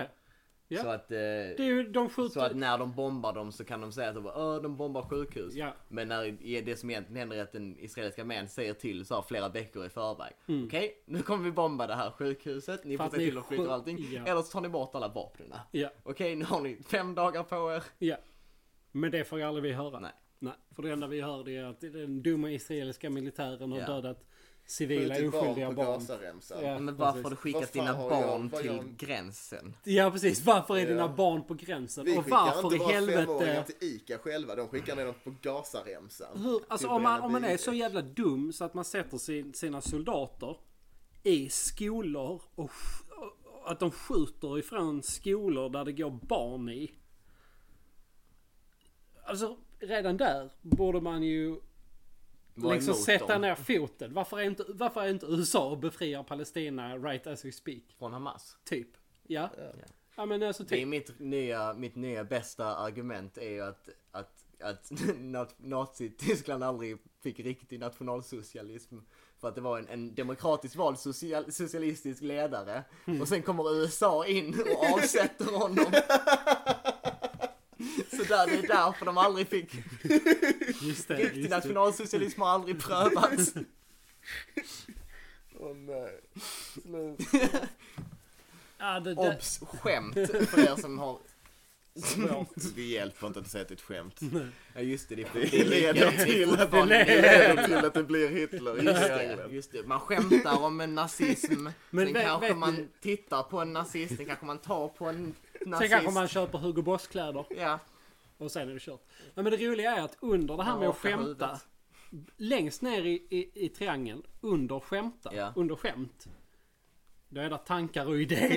Speaker 1: ja.
Speaker 2: Så att... eh,
Speaker 1: Det är ju, de
Speaker 2: så att
Speaker 1: skjuter...
Speaker 2: när de bombar dem så kan de säga att de, bara, "Åh, de bombar sjukhus.
Speaker 1: Ja.
Speaker 2: Men när det som egentligen händer är att den israeliska armén säger till så här flera veckor i förväg. Okej, nu kommer vi bomba det här sjukhuset. Ni
Speaker 1: Mm. För
Speaker 2: får
Speaker 1: att
Speaker 2: se
Speaker 1: ni
Speaker 2: till att flytta
Speaker 1: sjuk-
Speaker 2: allting.
Speaker 1: ja.
Speaker 2: Eller så tar ni bort alla vapnen.
Speaker 1: Ja.
Speaker 2: Okej, nu har ni fem dagar på er.
Speaker 1: Ja. Men det får ju aldrig vi höra.
Speaker 2: Nej.
Speaker 1: Nej, för det enda vi hörde är att den dumma israeliska militären har
Speaker 2: Ja.
Speaker 1: dödat civila
Speaker 3: Skjutit
Speaker 1: oskyldiga
Speaker 3: på
Speaker 1: barn.
Speaker 3: Gazaremsan.
Speaker 1: Ja.
Speaker 2: Men varför
Speaker 1: precis.
Speaker 2: har du skickat
Speaker 3: Vad fan
Speaker 2: dina
Speaker 3: har jag-
Speaker 2: barn
Speaker 3: vad
Speaker 2: till
Speaker 3: jag-
Speaker 2: gränsen?
Speaker 1: Ja precis, varför är dina
Speaker 3: Ja.
Speaker 1: barn på gränsen?
Speaker 3: Vi
Speaker 1: och
Speaker 3: skickar
Speaker 1: varför
Speaker 3: inte
Speaker 1: i
Speaker 3: våra femåringar
Speaker 1: helvete?
Speaker 3: till ICA själva, de skickar ner dem på Gazaremsan.
Speaker 1: Hur, alltså
Speaker 3: Till
Speaker 1: om man,
Speaker 3: Bränna
Speaker 1: om man är
Speaker 3: Bygge.
Speaker 1: så jävla dum så att man sätter sin, sina soldater i skolor och, sk- och- och att de skjuter ifrån skolor där det går barn i. Alltså redan där borde man ju
Speaker 2: Var
Speaker 1: liksom
Speaker 2: emot
Speaker 1: sätta
Speaker 2: dem
Speaker 1: ner foten. Varför är, inte, varför är inte USA och befriar Palestina right as we speak?
Speaker 2: Från Hamas.
Speaker 1: Typ. Ja. Ja, men alltså
Speaker 2: Det är
Speaker 1: typ.
Speaker 2: mitt nya, mitt nya bästa argument är ju att, att, att *laughs* nat- Nazityskland aldrig fick riktig nationalsocialism. För att det var en, en demokratiskt vald social, socialistisk ledare.
Speaker 1: Mm.
Speaker 2: Och sen kommer USA in och avsätter
Speaker 1: *laughs*
Speaker 2: honom. Så där, det är därför de aldrig fick,
Speaker 1: Just det.
Speaker 2: riktig
Speaker 1: Just det.
Speaker 2: nationalsocialism har aldrig prövats.
Speaker 3: Åh nej. Sluta.
Speaker 1: Ja, det, det,
Speaker 2: Obs! Skämt för er som har... *laughs*
Speaker 4: Vi hjälper inte att säga att *laughs* det är ett skämt.
Speaker 2: Ja just det, det är
Speaker 4: Det leder till att, det leder till att det blir Hitler i
Speaker 2: Just det,
Speaker 4: England.
Speaker 2: just det. Man skämtar om en
Speaker 4: *laughs*
Speaker 2: nazism.
Speaker 1: Men
Speaker 2: sen
Speaker 1: vet-
Speaker 2: kanske
Speaker 1: vet
Speaker 2: man
Speaker 1: ni-
Speaker 2: tittar på en nazist, sen kanske man tar på en nazist.
Speaker 1: sen kanske man köper Hugo Boss-kläder
Speaker 2: Ja.
Speaker 1: och sen är det kört. Ja, men det roliga är att under det här
Speaker 2: Man
Speaker 1: med att
Speaker 2: rakar
Speaker 1: skämta,
Speaker 2: huvudet.
Speaker 1: längst ner i, i, i triangeln, under skämta,
Speaker 2: Ja.
Speaker 1: under skämt, då är det tankar och idéer.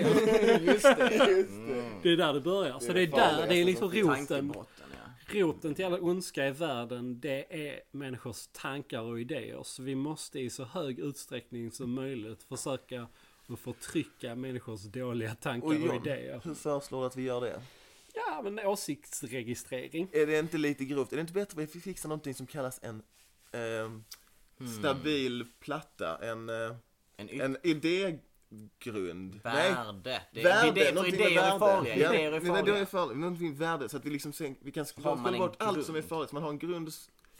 Speaker 2: Just det.
Speaker 1: *laughs*
Speaker 3: Just det.
Speaker 1: Det är där det börjar. Så
Speaker 3: Det är
Speaker 1: det är
Speaker 3: det
Speaker 1: där,
Speaker 3: farligaste
Speaker 1: det är liksom
Speaker 3: som-
Speaker 1: roten.
Speaker 2: Tankebrotten ja.
Speaker 1: Roten till alla ondska i världen det är människors tankar och idéer. Så vi måste i så hög utsträckning som möjligt försöka att förtrycka människors dåliga tankar och,
Speaker 4: Och John,
Speaker 1: idéer.
Speaker 4: hur föreslår du att vi gör det?
Speaker 1: Ja men åsiktsregistrering.
Speaker 4: Är det inte lite grovt? Är det inte bättre att vi fixar någonting som kallas en ehm, stabil platta? En, eh,
Speaker 2: En
Speaker 4: en idégrund? Nej,
Speaker 2: värde. Det är
Speaker 4: Värde,
Speaker 2: idéer, för
Speaker 4: någonting med
Speaker 2: idéer är
Speaker 4: värde.
Speaker 2: farliga.
Speaker 4: Ja,
Speaker 2: Idéer är
Speaker 4: nej, nej, då
Speaker 2: farliga.
Speaker 4: är farliga. Någonting värde, så att vi liksom sen, vi kan
Speaker 2: Har man
Speaker 4: skapa
Speaker 2: en
Speaker 4: bort allt som är
Speaker 2: grund?
Speaker 4: farligt. Så man har en grund, en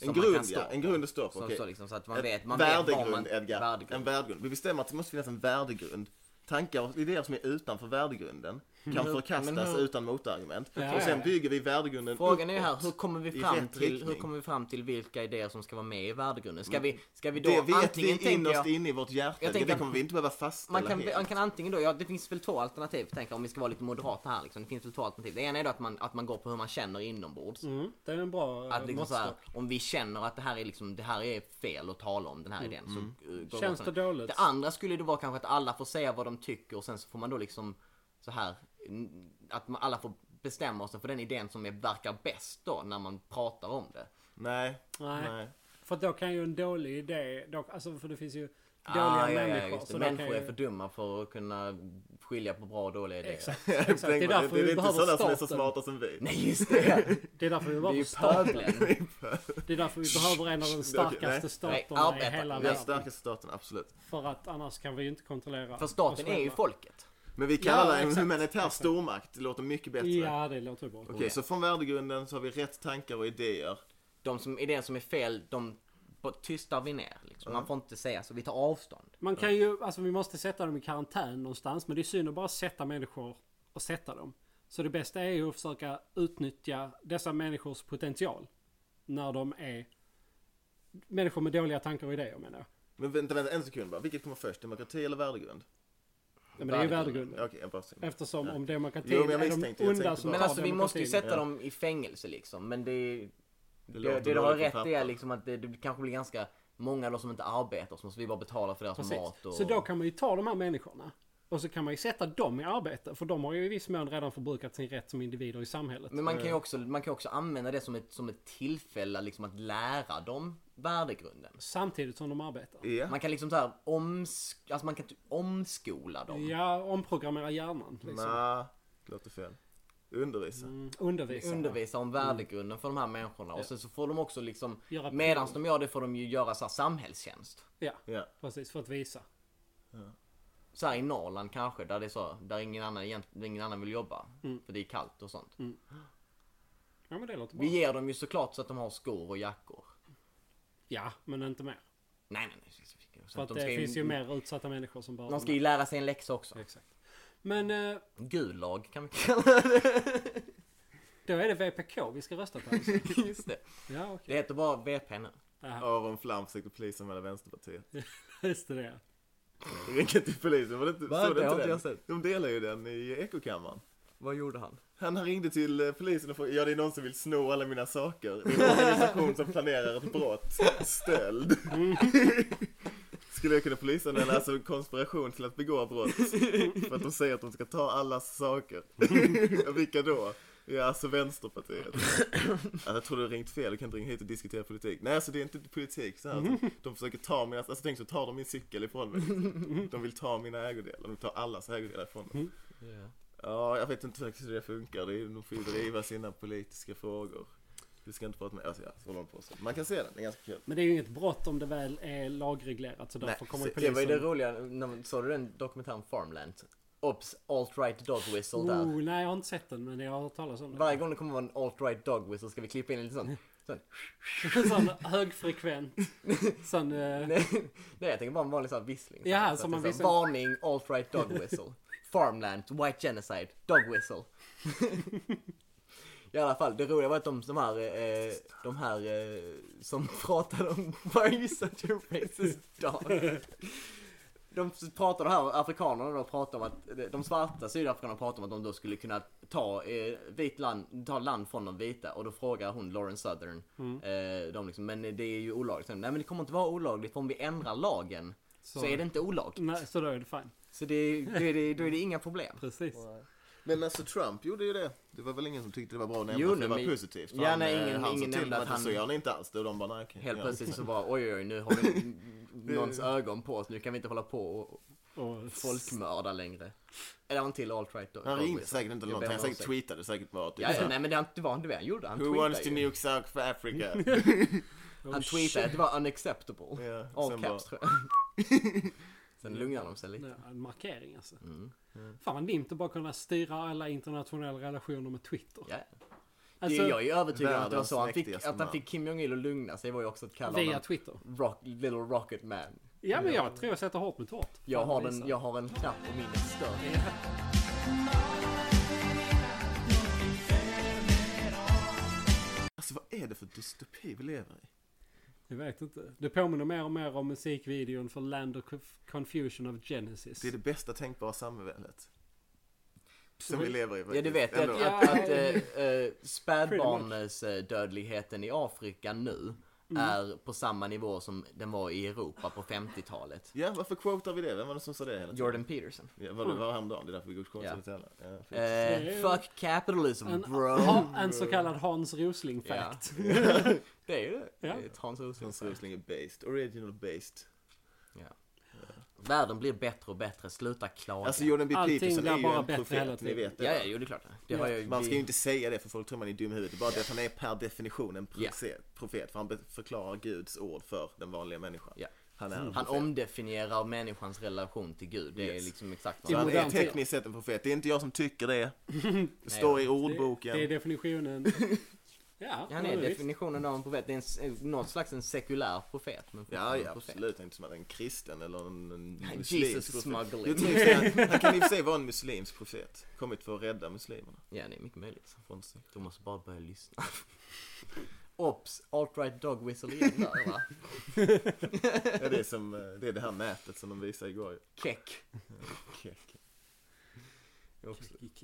Speaker 2: man kan
Speaker 4: grund,
Speaker 2: stå
Speaker 4: ja, en
Speaker 2: på.
Speaker 4: grund att stå på.
Speaker 2: Som
Speaker 4: okej.
Speaker 2: står liksom så att man
Speaker 4: Ett
Speaker 2: vet, man vet
Speaker 4: värdegrund,
Speaker 2: var man...
Speaker 4: Edgar. En
Speaker 2: Värdegrund.
Speaker 4: värdegrund. Vi bestämmer att det måste finnas en värdegrund. Tankar och idéer som är utanför värdegrunden kan
Speaker 2: men
Speaker 4: förkastas
Speaker 2: hur-
Speaker 4: utan motargument.
Speaker 1: Ja,
Speaker 4: och
Speaker 1: ja,
Speaker 4: sen
Speaker 1: ja.
Speaker 4: bygger vi värdegrunden
Speaker 2: Frågan är ju här,
Speaker 4: uppåt
Speaker 2: hur kommer, vi
Speaker 4: i
Speaker 2: fram
Speaker 4: rätt
Speaker 2: till, hur
Speaker 4: riktning. Mm.
Speaker 2: kommer vi fram till vilka idéer som ska vara med i värdegrunden? Ska vi, ska vi då
Speaker 4: Det vet
Speaker 2: antingen
Speaker 4: vi
Speaker 2: tänker
Speaker 4: innerst
Speaker 2: jag,
Speaker 4: inne i vårt hjärta.
Speaker 2: Jag
Speaker 4: det,
Speaker 2: tänker
Speaker 4: det
Speaker 2: att-
Speaker 4: kommer vi inte behöva fastställa
Speaker 2: Man kan,
Speaker 4: helt.
Speaker 2: man kan antingen då, ja det finns väl två alternativ tänker jag, om vi ska vara lite moderata här liksom. Det finns väl två alternativ. Det ena är då att man, att man går på hur man känner inombords.
Speaker 1: Mm, det är en bra
Speaker 2: Att
Speaker 1: eh,
Speaker 2: liksom så här,
Speaker 1: måttstock.
Speaker 2: om vi känner att det här är liksom, det här är fel att tala om den
Speaker 1: Mm.
Speaker 2: här idén. Så, eh, går
Speaker 1: Känns
Speaker 2: vi
Speaker 1: det
Speaker 2: på den.
Speaker 1: dåligt?
Speaker 2: Det andra skulle ju då vara kanske att alla får säga vad de tycker och sen så får man då liksom så här n- att man, alla får bestämma sig för den idén som är, verkar bäst då när man pratar om det.
Speaker 4: Nej.
Speaker 1: Nej.
Speaker 4: Nej.
Speaker 1: För då kan ju en dålig idé, då, alltså för det finns ju dåliga
Speaker 2: Ah, ja, ja,
Speaker 1: människor.
Speaker 2: just
Speaker 1: så
Speaker 2: det.
Speaker 1: då
Speaker 2: Människor
Speaker 1: kan ju,
Speaker 2: är för dumma för att kunna skilja på bra och dåliga idéer. *laughs*
Speaker 1: Exakt, exakt. Det är
Speaker 4: Tänk på
Speaker 1: därför
Speaker 4: det
Speaker 1: vi
Speaker 4: är inte
Speaker 1: behöver
Speaker 4: sådana som är så
Speaker 1: staten.
Speaker 4: smarta som vi.
Speaker 2: Nej
Speaker 1: *laughs*
Speaker 2: just det!
Speaker 1: Det är därför vi
Speaker 2: Det är ju
Speaker 1: behöver staten.
Speaker 2: pöblen.
Speaker 1: Det är därför vi behöver en av de
Speaker 4: Nej.
Speaker 1: starkaste staterna i
Speaker 2: arbetare.
Speaker 1: hela
Speaker 4: Vi har
Speaker 1: världen.
Speaker 4: starkaste staten, absolut.
Speaker 1: För att annars kan vi ju inte kontrollera
Speaker 2: För
Speaker 1: oss
Speaker 2: staten är ju
Speaker 1: själva.
Speaker 2: folket.
Speaker 4: Men vi
Speaker 1: Ja,
Speaker 4: kallar det en
Speaker 1: exakt.
Speaker 4: humanitär stormakt. Det låter mycket bättre.
Speaker 1: Ja, det låter ju bra.
Speaker 4: Okej, så från värdegrunden så har vi rätt tankar och idéer.
Speaker 2: De som, idén som är fel, de b- tystar vi ner. Liksom. Man får inte säga så, vi tar avstånd.
Speaker 1: Man kan ju, alltså vi måste sätta dem i karantän någonstans. Men det är synd att bara sätta människor och sätta dem. Så det bästa är ju att försöka utnyttja dessa människors potential. När de är människor med dåliga tankar och idéer menar jag.
Speaker 4: Men vänta, vänta en sekund bara. Vilket kommer först? Demokrati eller värdegrund?
Speaker 1: Nej, Men det är ju
Speaker 2: Värdegrunden.
Speaker 1: värdegrunden.
Speaker 4: Okej, jag bara ser.
Speaker 1: Eftersom om demokratin
Speaker 4: Jo, men jag
Speaker 1: är
Speaker 4: misstänkte,
Speaker 1: de
Speaker 4: jag
Speaker 1: onda
Speaker 4: tänkte
Speaker 1: som
Speaker 4: bara-
Speaker 2: Men
Speaker 1: tar
Speaker 2: alltså vi måste ju
Speaker 1: demokratin.
Speaker 2: sätta dem i fängelse liksom. Men det är... Det,
Speaker 4: låter
Speaker 2: det, du har
Speaker 4: dåligt på
Speaker 2: rätt i är
Speaker 4: papper.
Speaker 2: liksom att det, det kanske blir ganska många då som inte arbetar så måste vi bara betala för deras mat
Speaker 1: Precis.
Speaker 2: och...
Speaker 1: Så då kan man ju ta de här människorna. Och så kan man ju sätta dem i arbete. För de har ju i viss mån redan förbrukat sin rätt som individer i samhället.
Speaker 2: Men man kan ju också, man kan också använda det som ett, som ett tillfälle liksom att lära dem värdegrunden.
Speaker 1: Samtidigt som de arbetar.
Speaker 4: Ja.
Speaker 2: Man kan liksom såhär omsk- alltså man kan typ omskola dem.
Speaker 1: Ja, omprogrammera hjärnan. Liksom.
Speaker 4: Nej, det låter fel. Undervisa.
Speaker 1: Mm. Undervisa.
Speaker 2: undervisa om värdegrunden för de här människorna och sen så får de också liksom
Speaker 1: Mm. Göra
Speaker 2: medan de gör det får de ju göra så här samhällstjänst.
Speaker 1: Ja,
Speaker 4: Ja.
Speaker 1: precis. För att visa.
Speaker 2: Så här i Norrland kanske där det är så där ingen annan, egent- där ingen annan vill jobba
Speaker 1: Mm.
Speaker 2: för det är kallt och sånt.
Speaker 1: Ja, men det låter bra.
Speaker 2: Vi ger dem ju såklart så att de har skor och jackor.
Speaker 1: Ja, men inte mer.
Speaker 2: Nej nej nej. så- så- så
Speaker 1: För
Speaker 2: att
Speaker 1: att
Speaker 2: de
Speaker 1: det
Speaker 2: ska ju-
Speaker 1: finns ju mer utsatta människor som behöver
Speaker 2: De ska ju lära sig en läxa också.
Speaker 1: Exakt. Men eh,
Speaker 2: Gulag kan vi kalla det.
Speaker 1: Då är det VPK vi ska rösta
Speaker 2: *laughs*
Speaker 1: på alltså. *laughs*
Speaker 2: Just det.
Speaker 1: Ja, okej.
Speaker 2: Det heter bara VP nu.
Speaker 1: Aha,
Speaker 4: Aron Flam försökte polisanmäla Vänsterpartiet.
Speaker 1: just det.
Speaker 4: Ringa till polisen, var det inte,
Speaker 2: Va?
Speaker 4: såg
Speaker 2: Det
Speaker 4: du
Speaker 2: har
Speaker 4: inte
Speaker 2: inte
Speaker 4: den?
Speaker 2: jag sett.
Speaker 4: De delar ju den i Ekokammaren.
Speaker 2: Vad gjorde han?
Speaker 4: Han ringde till eh, polisen och frågade, ja det är någon som vill sno alla mina saker. Det är en organisation som planerar ett brott. Stöld. Skulle jag kunna polisanmäla alltså konspiration till att begå brott? För att de säger att de ska ta allas saker. Ja, Vilka då? Ja, alltså Vänsterpartiet. Alltså, jag tror du har ringt fel, du kan inte ringa hit och diskutera politik. Nej, alltså det är inte politik så här. utan De försöker ta mina, alltså tänk så tar de min cykel ifrån mig. De vill ta mina ägodelar, de vill ta allas ägodelar ifrån mig. Ja, jag vet inte faktiskt hur det funkar. Det är, de får ju driva sina politiska frågor. Du ska inte prata med... Alltså, ja, så håller de på så. Man kan se den, det är ganska kul.
Speaker 1: Men det är ju inget brott om det väl är lagreglerat så därför
Speaker 4: Nej,
Speaker 1: kommer
Speaker 4: se-
Speaker 2: Det var ju det
Speaker 1: polisen...
Speaker 2: roliga, när man- såg du den dokumentären Farmland? Ops, alt-right dog whistle där.
Speaker 1: Oh, nej, jag har inte sett den men jag har hört talas om
Speaker 2: Varje gång det kommer vara en alt-right dog whistle ska vi klippa in en liten sån.
Speaker 1: *laughs*
Speaker 2: sån.
Speaker 1: det. *laughs* Sån
Speaker 2: *laughs*
Speaker 1: högfrekvent. Sån... eh,
Speaker 2: Nej, nej, jag tänker bara en vanlig sån här vissling.
Speaker 1: Jaha,
Speaker 2: Så att
Speaker 1: som
Speaker 2: det
Speaker 1: man
Speaker 2: är så här,
Speaker 1: visslar.
Speaker 2: Varning, alt-right dog
Speaker 1: *laughs*
Speaker 2: whistle. Farmland, white genocide, dog whistle. *laughs* I alla fall, det roliga var att de, de här, eh, de här eh, som *laughs* pratade om Why you such a racist dog? De pratade här, afrikanerna då pratade om att, de svarta sydafrikanerna pratade om att de då skulle kunna ta eh, vit land, ta land från de vita och då frågar hon Lauren Southern, eh, de liksom, men det är ju olagligt. Så, Nej men det kommer inte vara olagligt för om vi ändrar lagen så,
Speaker 1: Så-
Speaker 2: är det inte olagligt.
Speaker 1: Nej, så då är det fine.
Speaker 2: Så det, är- då, är det, då är det inga problem.
Speaker 1: Precis.
Speaker 2: eh,
Speaker 4: Men alltså Trump gjorde ju det. Det var väl ingen som tyckte det var bra nämnt
Speaker 2: Jo,
Speaker 4: att det
Speaker 2: nej,
Speaker 4: var
Speaker 2: men-
Speaker 4: positivt.
Speaker 2: Ja, nej,
Speaker 4: eh,
Speaker 2: ingen-
Speaker 4: han
Speaker 2: ingen
Speaker 4: sa till
Speaker 2: nämnde att
Speaker 4: dem att han... så
Speaker 2: han-
Speaker 4: gör ni inte alls det. Och de bara, nej okej.
Speaker 2: Helt
Speaker 4: ja.
Speaker 2: plötsligt så bara oj oj nu har
Speaker 4: *laughs*
Speaker 2: vi någons ögon på oss, nu kan vi inte hålla på och
Speaker 1: Och
Speaker 2: folkmörda längre. Eller en till alt-right då.
Speaker 4: Han ringde
Speaker 2: Dog
Speaker 4: säkert inte
Speaker 2: Jag
Speaker 4: eller
Speaker 2: ber
Speaker 4: någonting. Han
Speaker 2: om
Speaker 4: säkert
Speaker 2: ursäkt.
Speaker 4: tweetade säkert bara typ
Speaker 2: Ja, ja,
Speaker 4: såhär,
Speaker 2: nej men det var inte- det var inte det han gjorde. Han
Speaker 4: Who wants to
Speaker 2: tweetade ju.
Speaker 4: nuke
Speaker 2: *laughs*
Speaker 4: South Africa?
Speaker 2: Han tweetade att det var unacceptable.
Speaker 4: Ja,
Speaker 2: All
Speaker 4: sen bara-
Speaker 2: caps tror jag. *laughs* Sen lugnade de sig lite.
Speaker 1: Nej, en markering alltså.
Speaker 2: Mm.
Speaker 1: Fan vad nimt att bara kunna styra alla internationella relationer med Twitter.
Speaker 2: Ja.
Speaker 1: Alltså,
Speaker 2: det, jag är ju övertygad om att det var
Speaker 4: världens
Speaker 2: så han fick,
Speaker 4: mäktigaste
Speaker 2: att han
Speaker 4: man.
Speaker 2: fick Kim Jong-Il att lugna sig var ju också att kalla
Speaker 1: via
Speaker 2: honom
Speaker 1: Twitter.
Speaker 2: rock, Little Rocket Man.
Speaker 1: Ja, men jag tror jag sätter hårt mot hårt.
Speaker 2: Jag
Speaker 1: Fan,
Speaker 2: har,
Speaker 1: vad
Speaker 2: den,
Speaker 1: visar.
Speaker 2: jag har en knapp på min stör.
Speaker 4: Alltså vad är det för dystopi vi lever i?
Speaker 1: Jag vet inte. Det påminner mer och mer om musikvideon för Land of Conf- Confusion of Genesis.
Speaker 4: Det är det bästa tänkbara samhället. Som vi lever i
Speaker 2: Ja du vet att,
Speaker 4: ändå.
Speaker 1: Ja.
Speaker 2: att, att äh, äh, spädbarnsdödligheten i Afrika nu är på samma nivå som den var i Europa på 50-talet.
Speaker 4: Ja, varför quotar vi det? Vem var det som sa det hela tiden?
Speaker 2: Jordan Peterson.
Speaker 4: Ja, var det var häromdagen? Det är därför vi går konstigt yeah. ja,
Speaker 2: Eh,
Speaker 4: precis.
Speaker 2: fuck capitalism
Speaker 1: En,
Speaker 2: bro.
Speaker 1: ha, en så kallad Hans
Speaker 2: *laughs*
Speaker 1: Rosling-fact.
Speaker 2: Det är ju det.
Speaker 1: Ja.
Speaker 2: Det är ett Hans Rosling.
Speaker 4: Hans Rosling är based, original based.
Speaker 2: Världen blir bättre och bättre, sluta klaga.
Speaker 4: Alltså Jordan B.
Speaker 1: Allting
Speaker 4: Peterson
Speaker 1: blir
Speaker 4: är ju
Speaker 1: bara
Speaker 4: en
Speaker 1: bättre hela
Speaker 4: profet, ni
Speaker 1: tiden.
Speaker 4: vet det.
Speaker 2: ja,
Speaker 4: va?
Speaker 2: ja, jo det är klart. Det har jag ju.
Speaker 4: Man ska ju inte säga det för folk tror man är dum i huvudet. Det är bara det att han är per definition en
Speaker 2: Ja.
Speaker 4: profe- profet. För han be- förklarar Guds ord för den vanliga människan.
Speaker 2: Ja.
Speaker 4: Han är en
Speaker 2: Han
Speaker 4: profet.
Speaker 2: omdefinierar människans relation till Gud. Det är
Speaker 4: Yes.
Speaker 2: liksom exakt
Speaker 1: I
Speaker 4: Så
Speaker 2: vad
Speaker 4: han
Speaker 2: han
Speaker 1: modern
Speaker 4: är
Speaker 1: tid.
Speaker 4: tekniskt sett en profet. Det är inte jag som
Speaker 2: *laughs*
Speaker 4: tycker det. Det står i
Speaker 1: Det, det är
Speaker 4: ordboken.
Speaker 1: definitionen. Ja,
Speaker 2: Han
Speaker 1: ja,
Speaker 2: är
Speaker 1: visst.
Speaker 2: definitionen av en profet. Det är en, s- någon slags en sekulär profet. Men
Speaker 4: Ja,
Speaker 2: fortfarande
Speaker 4: ja,
Speaker 2: en profet.
Speaker 4: absolut. Inte som att han är en kristen eller en, en
Speaker 2: Jesus
Speaker 4: muslimsk
Speaker 2: smuggling.
Speaker 4: Jag tror i och för sig- Han kan i och för sig vara en muslimsk profet. Kommit för att
Speaker 2: *laughs*
Speaker 4: rädda muslimerna
Speaker 2: Ja, det är mycket möjligt.
Speaker 4: från sig.
Speaker 2: Du måste bara börja lyssna. *laughs* Ops, alt-right dog whistle igen där
Speaker 4: *laughs*
Speaker 2: va?
Speaker 4: Ja, det, är som, eh, det är det här nätet som de visade igår.
Speaker 2: Keck.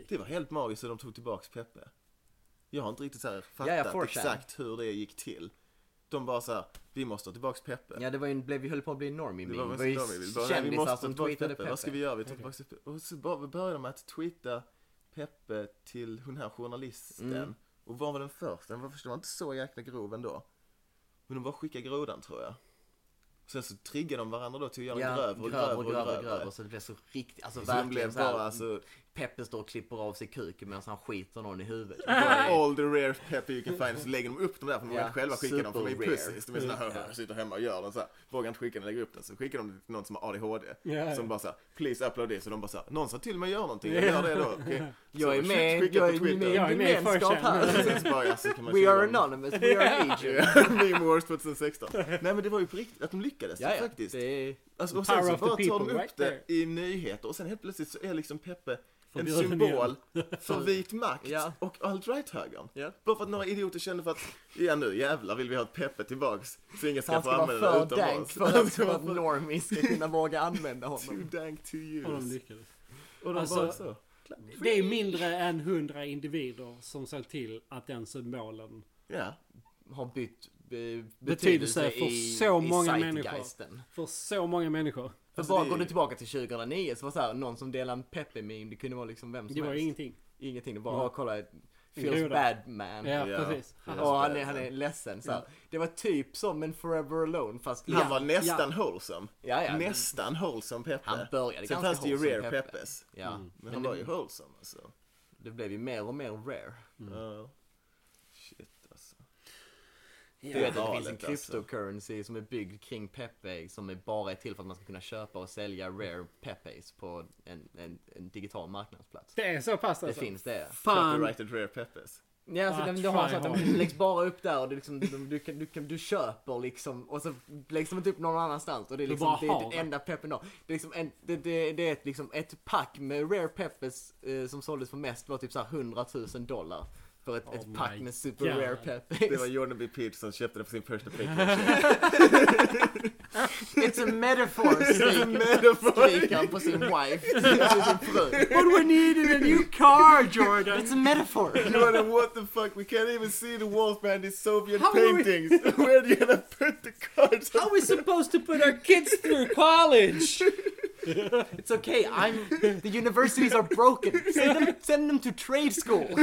Speaker 4: Det var helt magiskt hur de tog tillbaks Peppe. Jag har inte riktigt så här fattat
Speaker 2: Ja, ja, 4chan.
Speaker 4: exakt hur det gick till. De bara så här, vi måste ha tillbaks Peppe.
Speaker 2: Ja, det var ju, en- blev, vi höll på att bli en normie
Speaker 4: det
Speaker 2: meme.
Speaker 4: var
Speaker 2: Det
Speaker 4: väl
Speaker 2: var
Speaker 4: som
Speaker 2: ju
Speaker 4: de ville. Bara, nej, vi måste
Speaker 2: kändisar
Speaker 4: ha
Speaker 2: som
Speaker 4: tillbaks
Speaker 2: tweetade
Speaker 4: Peppe. Vad ska vi
Speaker 2: Peppe.
Speaker 4: göra? Vi tar tillbaks Peppe. Och så bara, började de med att tweeta Peppe till hon här journalisten.
Speaker 2: Mm.
Speaker 4: Och var var den första? Den var, den var inte så jäkla grov ändå. Men de bara skickade grodan tror jag. Sen så triggade de varandra då till att göra den grövre och grövre och grövre.
Speaker 2: och så det blev så riktigt, alltså
Speaker 4: Så de
Speaker 2: verkligen
Speaker 4: blev
Speaker 2: så här,
Speaker 4: bara alltså
Speaker 2: Peppe står och klipper av sig kuken medan han skiter någon
Speaker 1: *laughs*
Speaker 2: i huvudet.
Speaker 4: All the rare pepper you can find. Så lägger de upp dem där för de vågar
Speaker 2: Ja,
Speaker 4: inte själva skicka dem för de är
Speaker 2: super rare.
Speaker 4: pussies. De är sådana här, sitter hemma och gör dem så här. Vågar inte skicka den, lägger upp den. Så skickar de till någon som har ADHD.
Speaker 1: Ja.
Speaker 4: Som bara såhär, please upload this. Och de bara såhär, någon sa till mig att göra någonting. Jag gör det då.
Speaker 2: *laughs*
Speaker 4: Okej. Så
Speaker 2: Jag är
Speaker 4: shit,
Speaker 2: med,
Speaker 4: skicka
Speaker 2: jag
Speaker 4: på
Speaker 2: är
Speaker 4: Twitter.
Speaker 2: med i
Speaker 1: Jag är med i
Speaker 2: gemenskap
Speaker 1: 4chan.
Speaker 4: Och
Speaker 2: här.
Speaker 4: sen så bara, ja, så kan man
Speaker 2: We
Speaker 4: skriva
Speaker 2: are
Speaker 4: om- *laughs*
Speaker 2: anonymous, we are agents.
Speaker 4: Ja, Meme Wars 2016. Nej men det var ju på riktigt att de lyckades
Speaker 2: Ja, ja,
Speaker 4: faktiskt.
Speaker 2: det är...
Speaker 4: Alltså, och
Speaker 1: Power
Speaker 4: sen så
Speaker 1: of the
Speaker 4: bara tar de
Speaker 1: people
Speaker 4: upp
Speaker 1: right
Speaker 4: det
Speaker 1: there.
Speaker 4: i nyheter och sen helt plötsligt så är liksom Peppe
Speaker 3: en
Speaker 1: förbjuden
Speaker 3: symbol
Speaker 1: *laughs* igen.
Speaker 3: för vit makt
Speaker 2: Ja.
Speaker 3: och alt-right-högern.
Speaker 2: Ja.
Speaker 3: Bara för att några idioter kände för att, ja nu jävlar vill vi ha ett Peppe tillbaks, så ingen ska
Speaker 2: Han
Speaker 3: få
Speaker 2: ska vara
Speaker 3: använda
Speaker 2: för
Speaker 3: det utom
Speaker 2: dank
Speaker 3: *laughs* oss.
Speaker 2: för att, för att normies ska kunna våga använda
Speaker 3: Too
Speaker 2: honom.
Speaker 3: dank to
Speaker 1: Och de
Speaker 3: use.
Speaker 1: lyckades.
Speaker 3: Och de
Speaker 1: Alltså-
Speaker 3: bara så.
Speaker 1: Det är mindre än 100 individer som såg till att den symbolen...
Speaker 3: Ja,
Speaker 2: Har bytt be,
Speaker 1: Betydelse
Speaker 2: betydelse
Speaker 1: för
Speaker 2: i,
Speaker 1: så många
Speaker 2: i
Speaker 1: människor.
Speaker 2: zeitgeisten.
Speaker 1: För så många människor.
Speaker 2: För
Speaker 3: Alltså,
Speaker 2: bara
Speaker 3: det är-
Speaker 2: går du tillbaka till 2009 så var det så här, någon som delade en Peppe-meme, det kunde vara liksom vem som
Speaker 1: Det var
Speaker 2: helst.
Speaker 1: ingenting.
Speaker 2: Ingenting, det bara,
Speaker 1: Ja.
Speaker 2: ja. kolla,
Speaker 1: groda.
Speaker 2: feels bad man.
Speaker 1: Ja,
Speaker 3: Ja.
Speaker 1: precis.
Speaker 3: Ja.
Speaker 2: Och han är, han är ledsen så här. Det var typ som en forever alone fast
Speaker 3: Han
Speaker 1: Ja,
Speaker 3: var nästan wholesome.
Speaker 2: Ja, ja.
Speaker 3: Nästan wholesome Peppe.
Speaker 2: Han började
Speaker 3: Sen
Speaker 2: ganska
Speaker 3: fanns det ju
Speaker 2: wholesome
Speaker 3: rare
Speaker 2: Peppe.
Speaker 3: Peppes.
Speaker 2: Ja.
Speaker 1: Mm.
Speaker 3: Men han var ju wholesome alltså.
Speaker 2: Det blev ju mer och mer rare.
Speaker 1: Mm.
Speaker 3: Ja. Shit alltså.
Speaker 2: Du vet att det finns en
Speaker 3: galet, alltså.
Speaker 2: cryptocurrency som är byggd kring Pepe som är bara är till för att man ska kunna köpa och sälja rare Pepes på en, en, en digital marknadsplats.
Speaker 1: Det är så pass
Speaker 2: Det
Speaker 1: alltså.
Speaker 2: finns det.
Speaker 1: Fan.
Speaker 3: Copyrighted rare Peppes.
Speaker 2: Ja, alltså,
Speaker 1: Ah,
Speaker 2: den, du har
Speaker 1: try
Speaker 2: så att
Speaker 1: hard.
Speaker 2: den läggs bara upp där och det är liksom, de, du, kan, du, kan, du köper liksom och så läggs de inte upp någon annanstans och det är
Speaker 1: Du
Speaker 2: liksom
Speaker 1: bara
Speaker 2: det,
Speaker 1: har
Speaker 2: är det
Speaker 1: det.
Speaker 2: enda peppen då. Det är, liksom en, det, det, det är ett, liksom ett pack med rare peppers eh, som såldes för mest var typ så här 100 000 dollar. För ett,
Speaker 1: Oh
Speaker 2: ett pack
Speaker 1: my
Speaker 2: med super
Speaker 1: God.
Speaker 2: rare
Speaker 3: Det var
Speaker 2: peppers.
Speaker 3: Jordan B. Peterson som köpte det på
Speaker 2: *laughs*
Speaker 3: sin första Patreon.
Speaker 2: It's
Speaker 1: *laughs*
Speaker 2: a metaphor, skriker- skriker han på sin wife, på sin fru.
Speaker 1: But we needed a new car Jordan!
Speaker 2: It's a metaphor!
Speaker 3: Jordan, what the fuck? We can't even see the walls behind these Soviet
Speaker 1: How are we-
Speaker 2: *laughs*
Speaker 3: paintings. Where are you gonna put the cards?
Speaker 1: How are we supposed to put our kids through college?
Speaker 2: It's okay, I'm... The universities are broken. Send them, send them to trade school.
Speaker 3: *laughs*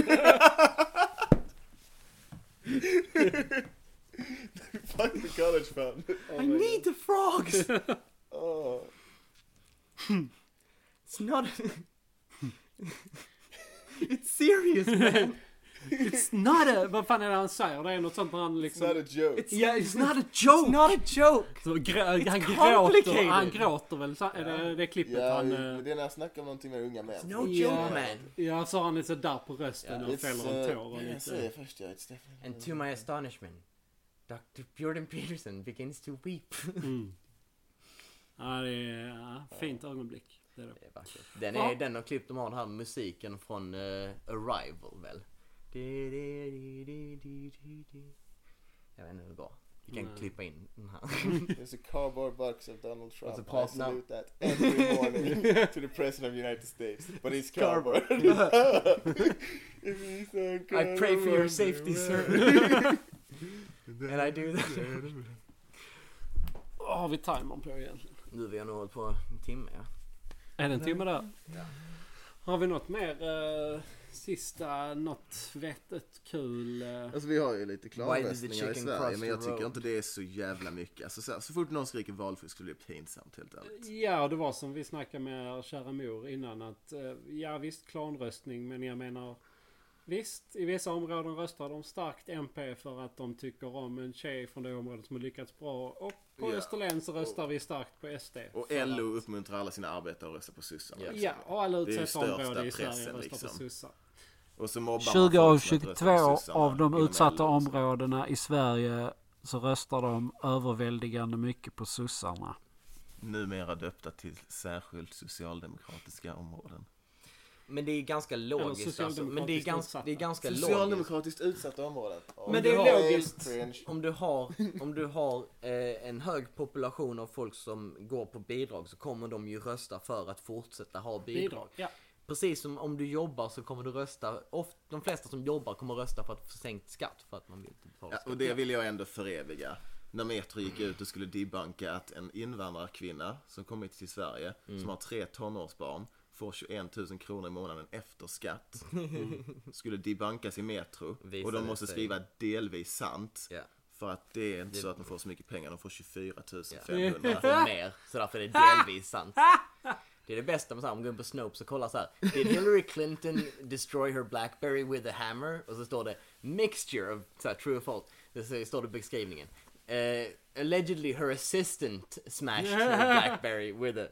Speaker 1: Oh
Speaker 3: Fuck the college fund.
Speaker 2: I need the frogs!
Speaker 3: Oh.
Speaker 2: It's not. it's serious man.
Speaker 1: It's not a... *laughs* Vad fan är det han säger? Det är något sånt när han
Speaker 3: It's not
Speaker 1: liksom...
Speaker 3: a joke.
Speaker 2: It's,
Speaker 1: Ja, it's not a
Speaker 2: it's
Speaker 1: joke!
Speaker 2: not a joke.
Speaker 1: Så grä, han, gråter,
Speaker 2: complicated.
Speaker 1: han gråter väl? Så, är det, det klippet
Speaker 3: Ja,
Speaker 1: han...
Speaker 3: men
Speaker 1: eh,
Speaker 3: det är när jag snackar om någonting med unga män.
Speaker 2: uh, No
Speaker 1: Ja.
Speaker 2: joke man.
Speaker 1: Ja, så har han lite där på rösten och
Speaker 3: It's,
Speaker 1: fäller en
Speaker 3: eh,
Speaker 1: tår. Och
Speaker 3: jag säger
Speaker 1: lite.
Speaker 3: först ja, it's definitely...
Speaker 2: And to my astonishment, Dr. Jordan Peterson begins to weep.
Speaker 1: Ja, det är ja, fint ögonblick. Det är det.
Speaker 2: Det är vackert. Den
Speaker 1: Ja.
Speaker 2: är den och klipp de har den här musiken från eh, Arrival väl? Jag vet inte hur det går. Vi kan
Speaker 1: Nej.
Speaker 2: klippa in den
Speaker 1: *laughs*
Speaker 2: här.
Speaker 3: There's a cardboard box of Donald Trump.
Speaker 2: Alltså,
Speaker 3: I
Speaker 2: prata-
Speaker 3: salute that
Speaker 2: *laughs*
Speaker 3: every morning to the president of the United States. But it's cardboard.
Speaker 2: *laughs*
Speaker 3: *laughs* If he's on
Speaker 2: I pray for your
Speaker 3: cardboard,
Speaker 1: *laughs*
Speaker 2: safety
Speaker 3: man. *laughs*
Speaker 2: sir. And I do that.
Speaker 1: Vad har vi timern på egentligen?
Speaker 2: Nu har vi nog hållit på en timme ja.
Speaker 1: Är det en timme där? Har vi något mer? eh, sista, något vettigt kul? eh?
Speaker 4: Alltså vi har ju
Speaker 2: Why
Speaker 4: lite
Speaker 2: did the
Speaker 4: klanröstningar i
Speaker 2: chicken
Speaker 4: Sverige
Speaker 2: cross
Speaker 4: men
Speaker 2: the
Speaker 4: jag tycker
Speaker 2: road?
Speaker 4: inte det är så jävla mycket. Alltså, så, här, så fort någon skriker valfusk så blir det pinsamt helt ärligt.
Speaker 1: Ja, det var som vi snackade med er kära mor innan att eh, ja visst klanröstning men jag menar visst i vissa områden röstar de starkt MP för att de tycker om en tjej från det området som har lyckats bra och på
Speaker 4: Ja,
Speaker 1: Österlen så röstar vi starkt på SD.
Speaker 4: Och
Speaker 1: för
Speaker 4: LO
Speaker 1: att-
Speaker 4: uppmuntrar alla sina arbetare att rösta på sossarna. liksom.
Speaker 1: Ja, och alla
Speaker 4: ju
Speaker 1: utsatta
Speaker 4: största
Speaker 1: områden i Sverige
Speaker 4: pressen,
Speaker 1: röstar
Speaker 4: liksom.
Speaker 1: på sossar.
Speaker 4: Och så mobbar man
Speaker 5: 20 av
Speaker 4: folk som att rösta
Speaker 5: 22
Speaker 4: på sossarna
Speaker 5: av de
Speaker 4: inom
Speaker 5: utsatta
Speaker 4: LO och så.
Speaker 5: områdena i Sverige så röstar de överväldigande mycket på sossarna.
Speaker 4: Numera döpta till särskilt socialdemokratiska områden.
Speaker 2: Men det är ganska logiskt alltså. Men det är
Speaker 1: socialdemokratiskt
Speaker 2: ganska, det är
Speaker 1: utsatta.
Speaker 2: ganska logiskt.
Speaker 3: Socialdemokratiskt utsatta områden. Ja,
Speaker 2: Men det är
Speaker 3: har helt
Speaker 2: logiskt.
Speaker 3: cringe.
Speaker 2: Om
Speaker 1: *laughs*
Speaker 2: du har, om du har eh, en hög population av folk som går på bidrag så kommer de ju rösta för att fortsätta ha bidrag.
Speaker 1: Bidrag, ja.
Speaker 2: Precis som om du jobbar så kommer du rösta, oft, de flesta som jobbar kommer rösta för att få sänkt skatt för att man vill typ inte betala
Speaker 4: Ja,
Speaker 2: skatt.
Speaker 4: och det vill jag ändå föreviga. När Metro gick ut och skulle debunka att en invandrarkvinna som kommit till Sverige,
Speaker 2: Mm.
Speaker 4: som har tre tonårsbarn, får 21 000 kronor i månaden
Speaker 2: *laughs*
Speaker 4: efter skatt. Skulle debunkas i Metro.
Speaker 2: Visade
Speaker 4: och de måste
Speaker 2: sig.
Speaker 4: skriva delvis sant.
Speaker 2: Ja.
Speaker 4: För att det är inte så att de får så mycket pengar, de får 24
Speaker 2: Man
Speaker 4: 500.
Speaker 2: får mer, så därför är det delvis sant. Det är det bästa med så här, om man går in på Snopes och kollar så här. Did Hillary Clinton destroy her Blackberry with a hammer? Och så står det mixture of så här, true or false. Det så- står det i beskrivningen. Eh, allegedly her assistant smashed her Blackberry with a,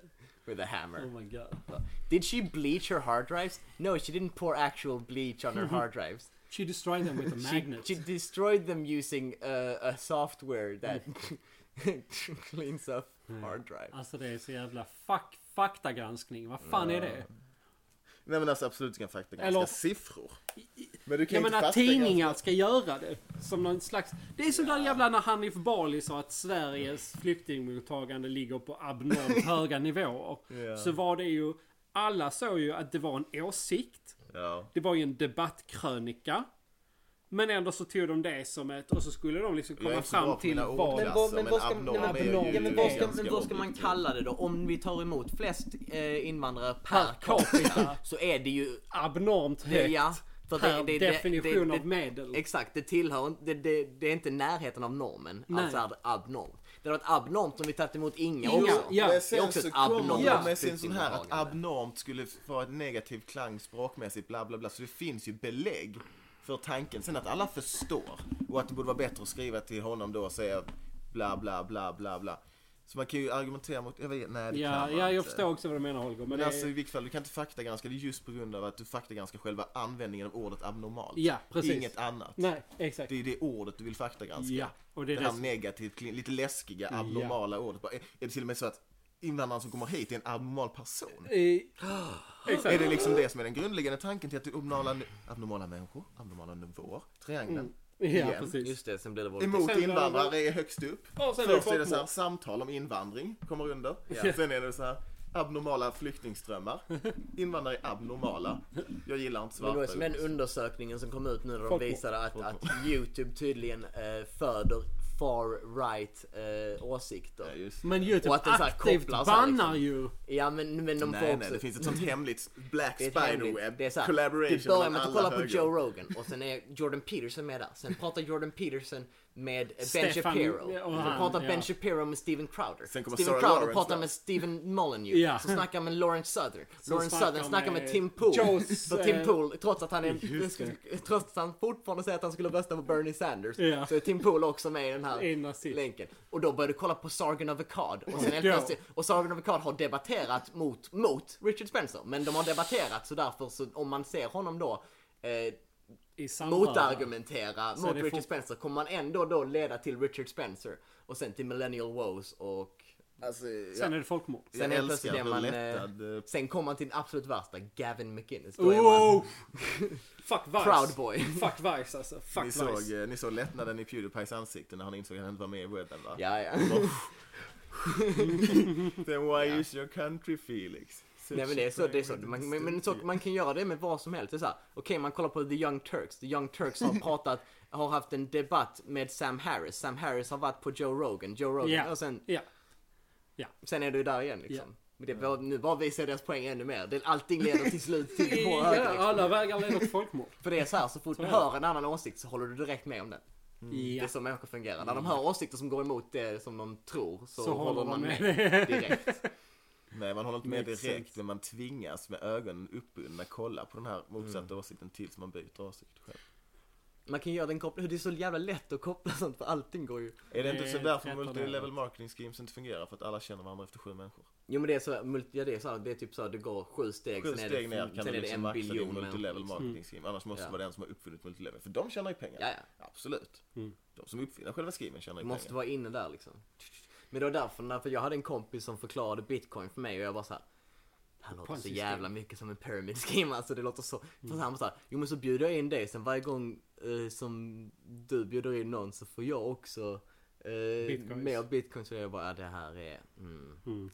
Speaker 2: with a hammer.
Speaker 1: Oh my god.
Speaker 2: Did she bleach her hard drives? No, she didn't pour actual bleach on her hard drives.
Speaker 1: She destroyed them with a
Speaker 2: She,
Speaker 1: magnet.
Speaker 2: she destroyed them using uh, a software that *laughs* cleans up
Speaker 1: Mm.
Speaker 2: hard drive.
Speaker 1: Alltså det är så jävla fuck, faktagranskning. Vad fan är det?
Speaker 4: *laughs* Nej men alltså absolut du kan faktagranska
Speaker 1: Eller-
Speaker 4: siffror.
Speaker 1: Jag
Speaker 4: Men du kan ju inte alltså.
Speaker 1: menar
Speaker 4: faktagranska-
Speaker 1: tidningar ska göra det. Som någon slags... Det är som där jävla när Hanif Bali sa att Sveriges flyktingmottagande ligger på
Speaker 4: *laughs*
Speaker 1: abnormt höga nivåer.
Speaker 4: Ja.
Speaker 1: Så var det ju... Alla såg ju att det var en åsikt.
Speaker 4: Ja.
Speaker 1: Det var ju en debattkrönika. Men ändå så tog de det som ett... Och så skulle de liksom
Speaker 4: är
Speaker 1: komma
Speaker 4: inte så bra
Speaker 1: fram
Speaker 4: på
Speaker 1: till
Speaker 4: mina ord,
Speaker 1: vad...
Speaker 4: Lasse,
Speaker 2: vad- men
Speaker 4: men
Speaker 2: vad ska-
Speaker 4: abnorm
Speaker 2: nej, men
Speaker 4: är ju
Speaker 1: abnorm-
Speaker 2: Ja, men vad ska,
Speaker 4: ganska
Speaker 2: men vad ska man
Speaker 4: objektivt.
Speaker 2: kalla det då? Om vi tar emot flest eh, invandrare per
Speaker 1: Per
Speaker 2: capita
Speaker 1: capita.
Speaker 2: så är det ju...
Speaker 1: Abnormt
Speaker 2: Det,
Speaker 1: högt.
Speaker 2: ja, för
Speaker 1: Per definition
Speaker 2: det-
Speaker 1: av medel.
Speaker 2: Exakt, det tillhör inte- det, det, det är inte i närheten av normen.
Speaker 1: Nej.
Speaker 2: Alltså är det abnormt. Det hade varit abnormt om vi tagit emot inga
Speaker 1: Inga,
Speaker 2: också.
Speaker 1: ja.
Speaker 4: Men
Speaker 2: Det är
Speaker 4: sen
Speaker 2: också
Speaker 4: så
Speaker 2: ett
Speaker 4: kommer
Speaker 2: abnormt
Speaker 4: de med sin sån här att
Speaker 2: flyktingmottagande.
Speaker 4: abnormt skulle vara ett negativt klang språkmässigt bla bla bla. Så det finns ju belägg för tanken. Sen att alla förstår och att det borde vara bättre att skriva till honom då och säga bla bla bla bla bla. Så man kan ju argumentera mot, jag vet, nej det kan
Speaker 1: Ja,
Speaker 4: man
Speaker 1: ja, jag
Speaker 4: inte.
Speaker 1: förstår också vad du menar Holger. Men
Speaker 4: alltså. Men
Speaker 1: det
Speaker 4: alltså i
Speaker 1: är...
Speaker 4: vilket fall, du kan inte faktagranska det just på grund av att du faktagranskar själva användningen av ordet abnormalt.
Speaker 1: Ja, precis.
Speaker 4: Inget annat.
Speaker 1: Nej, exakt.
Speaker 4: Det är det ordet du vill faktagranska.
Speaker 1: Ja, och det
Speaker 4: det,
Speaker 1: är
Speaker 4: här
Speaker 1: det som...
Speaker 4: negativt, kli- lite läskiga, abnormala ordet. Bara, Är är det till och med så att invandraren som kommer hit är en abnormal person?
Speaker 2: *gasps*
Speaker 1: Eh,
Speaker 4: Är
Speaker 1: Exakt.
Speaker 4: det liksom det som är den grundläggande tanken till att det är abnormala, abnormala människor, abnormala nivåer, triangeln?
Speaker 1: Ja,
Speaker 4: igen?
Speaker 1: precis.
Speaker 2: Just det, sen blir det våld.
Speaker 4: Emot
Speaker 1: Mm. Sen-
Speaker 4: invandrare är högst upp.
Speaker 1: Och sen är det
Speaker 4: Först är det så här,
Speaker 1: folkmord.
Speaker 4: samtal om invandring kommer under.
Speaker 1: Ja.
Speaker 4: *laughs* Sen är det så här, abnormala flyktingströmmar. Invandrare är abnormala. Jag gillar inte
Speaker 2: Men
Speaker 4: svarta.
Speaker 2: då är som den undersökningen som kom ut nu där de
Speaker 1: Folkmord.
Speaker 2: visade att, att YouTube tydligen eh, föder far right eh, åsikter.
Speaker 4: Ja, just.
Speaker 1: Men
Speaker 2: Och
Speaker 1: Youtube
Speaker 2: att det så här
Speaker 1: aktivt
Speaker 2: kopplar så här liksom.
Speaker 1: bannar ju.
Speaker 2: Ja men, men de får
Speaker 4: Nej,
Speaker 2: också...
Speaker 4: nej, det finns ett sånt hemligt black
Speaker 2: *laughs* Det är ett hemligt-
Speaker 4: spiderweb
Speaker 2: Det är så här,
Speaker 4: collaboration
Speaker 2: Du börjar med
Speaker 4: mellan
Speaker 2: att
Speaker 4: alla
Speaker 2: kolla på
Speaker 4: höger.
Speaker 2: Joe Rogan och sen är Jordan Peterson med där. Sen pratar Jordan Peterson med Ben
Speaker 1: Stefan-
Speaker 2: Shapiro.
Speaker 1: och
Speaker 2: sen
Speaker 1: han,
Speaker 2: pratar Ben
Speaker 1: ja.
Speaker 2: Shapiro med Steven Crowder.
Speaker 4: Sen kommer
Speaker 2: Steven
Speaker 4: Sarah
Speaker 2: Crowder
Speaker 4: Lawrence
Speaker 2: pratar
Speaker 4: där.
Speaker 2: med Steven Molyneux.
Speaker 1: Ja.
Speaker 2: Så snackar han med Lawrence Southern. Lawrence
Speaker 1: snackar
Speaker 2: Southern snackar med,
Speaker 1: med
Speaker 2: Tim Pool.
Speaker 1: Joe's,
Speaker 2: För Tim
Speaker 1: eh,
Speaker 2: Pool, trots att han
Speaker 1: Just
Speaker 2: är, trots att han fortfarande säger att han skulle rösta på Bernie Sanders.
Speaker 1: Ja.
Speaker 2: Så är Tim Pool också med i den
Speaker 1: Är en
Speaker 2: här
Speaker 1: nazist.
Speaker 2: länken. Och då börjar du kolla på Sargon of Akkad. Och sen helt
Speaker 1: Ja.
Speaker 2: plötsligt och Sargon of Akkad har debatterat mot, mot Richard Spencer. Men de har debatterat så därför så om man ser honom då eh,
Speaker 1: I samma-
Speaker 2: motargumentera
Speaker 1: Så
Speaker 2: mot
Speaker 1: det är
Speaker 2: Richard
Speaker 1: fort-
Speaker 2: Spencer kommer man ändå då leda till Richard Spencer och sen till Millennial Woes och
Speaker 4: Alltså, ja.
Speaker 1: Sen är det folkmord.
Speaker 4: Jag
Speaker 2: sen helt plötsligt
Speaker 4: älskar
Speaker 2: är
Speaker 4: hur
Speaker 2: man...
Speaker 4: lättad,
Speaker 2: Eh,
Speaker 4: eh,
Speaker 2: sen kommer man till den absolut värsta, Gavin McInnes. Då är man *laughs*
Speaker 1: Oh! Fuck Vice.
Speaker 2: proud boy.
Speaker 1: *laughs* Fuck Vice alltså. Fuck
Speaker 4: Ni
Speaker 1: Vice.
Speaker 4: såg, eh, ni såg lättnaden i Pewdiepies ansikte när han insåg att han inte var med i Wedden va?
Speaker 2: ja, ja.
Speaker 4: Then why is your country Felix? Such
Speaker 2: Nej men det är så,
Speaker 4: a
Speaker 2: det är så.
Speaker 4: brave
Speaker 2: Man, men, men så,
Speaker 4: stupid.
Speaker 2: man kan göra det med vad som helst. Det är så här, Okej, man kollar på The Young Turks. The Young Turks har pratat, har haft en debatt med Sam Harris. Sam Harris har varit på Joe Rogan. Joe Rogan,
Speaker 1: Ja.
Speaker 2: och sen,
Speaker 1: Ja.
Speaker 2: sen är du där igen liksom.
Speaker 1: Ja.
Speaker 2: Men det, var- Nu bara visar jag deras poäng ännu mer. Det, allting leder till
Speaker 1: *laughs*
Speaker 2: slut till vår
Speaker 1: Ja,
Speaker 2: höger. liksom.
Speaker 1: alla vägar leder till
Speaker 2: *laughs*
Speaker 1: folkmord.
Speaker 2: För det är så här, så fort du
Speaker 1: är det.
Speaker 2: hör en annan åsikt så håller du direkt med om den. Mm. Det
Speaker 1: Ja.
Speaker 2: är så människor fungerar. När de hör åsikter som går emot det som de tror så, håller man med,
Speaker 1: *laughs*
Speaker 2: direkt.
Speaker 4: Nej man håller inte med
Speaker 1: Makes
Speaker 4: direkt
Speaker 1: sense.
Speaker 4: men man tvingas med ögonen uppbundna kolla på den här motsatta
Speaker 2: Mm.
Speaker 4: åsikten tills man byter åsikt själv.
Speaker 2: Man kan göra den kopplingen, det är så jävla lätt att koppla sånt för allting går ju
Speaker 4: Är det
Speaker 1: Det
Speaker 4: inte så
Speaker 1: är
Speaker 4: därför
Speaker 1: tretton
Speaker 4: multilevel
Speaker 1: överallt.
Speaker 4: marketing schemes inte fungerar? För att alla känner varandra efter sju människor?
Speaker 2: Jo men det är så, multi- ja, det är så här, det är typ så här, det går sju steg,
Speaker 4: Sju
Speaker 2: sen
Speaker 4: steg
Speaker 2: är det,
Speaker 4: ner
Speaker 2: sen
Speaker 4: kan du
Speaker 2: är det
Speaker 4: liksom
Speaker 2: en
Speaker 4: maxa din
Speaker 2: biljon
Speaker 4: multilevel
Speaker 2: människor. liksom. Mm.
Speaker 4: marketing scheme. Annars måste
Speaker 2: Ja.
Speaker 4: det vara den som har uppfunnit multilevel. För de tjänar ju pengar.
Speaker 2: Ja, ja.
Speaker 4: Absolut. De som uppfinner själva schemen tjänar
Speaker 2: Du
Speaker 4: ju
Speaker 2: måste
Speaker 4: pengar.
Speaker 2: vara inne där liksom. Men det var därför, när- för jag hade en kompis som förklarade bitcoin för mig och jag bara så här. Det här låter så
Speaker 1: Ponzi-scheme.
Speaker 2: jävla mycket som en pyramid scheme alltså, det låter så. För han bara så här, jo men så bjuder jag in dig, sen varje gång eh, som du bjuder in någon så får jag också eh,
Speaker 1: Bitcoins.
Speaker 2: mer bitcoin. Så jag bara, ja, det här är, mm.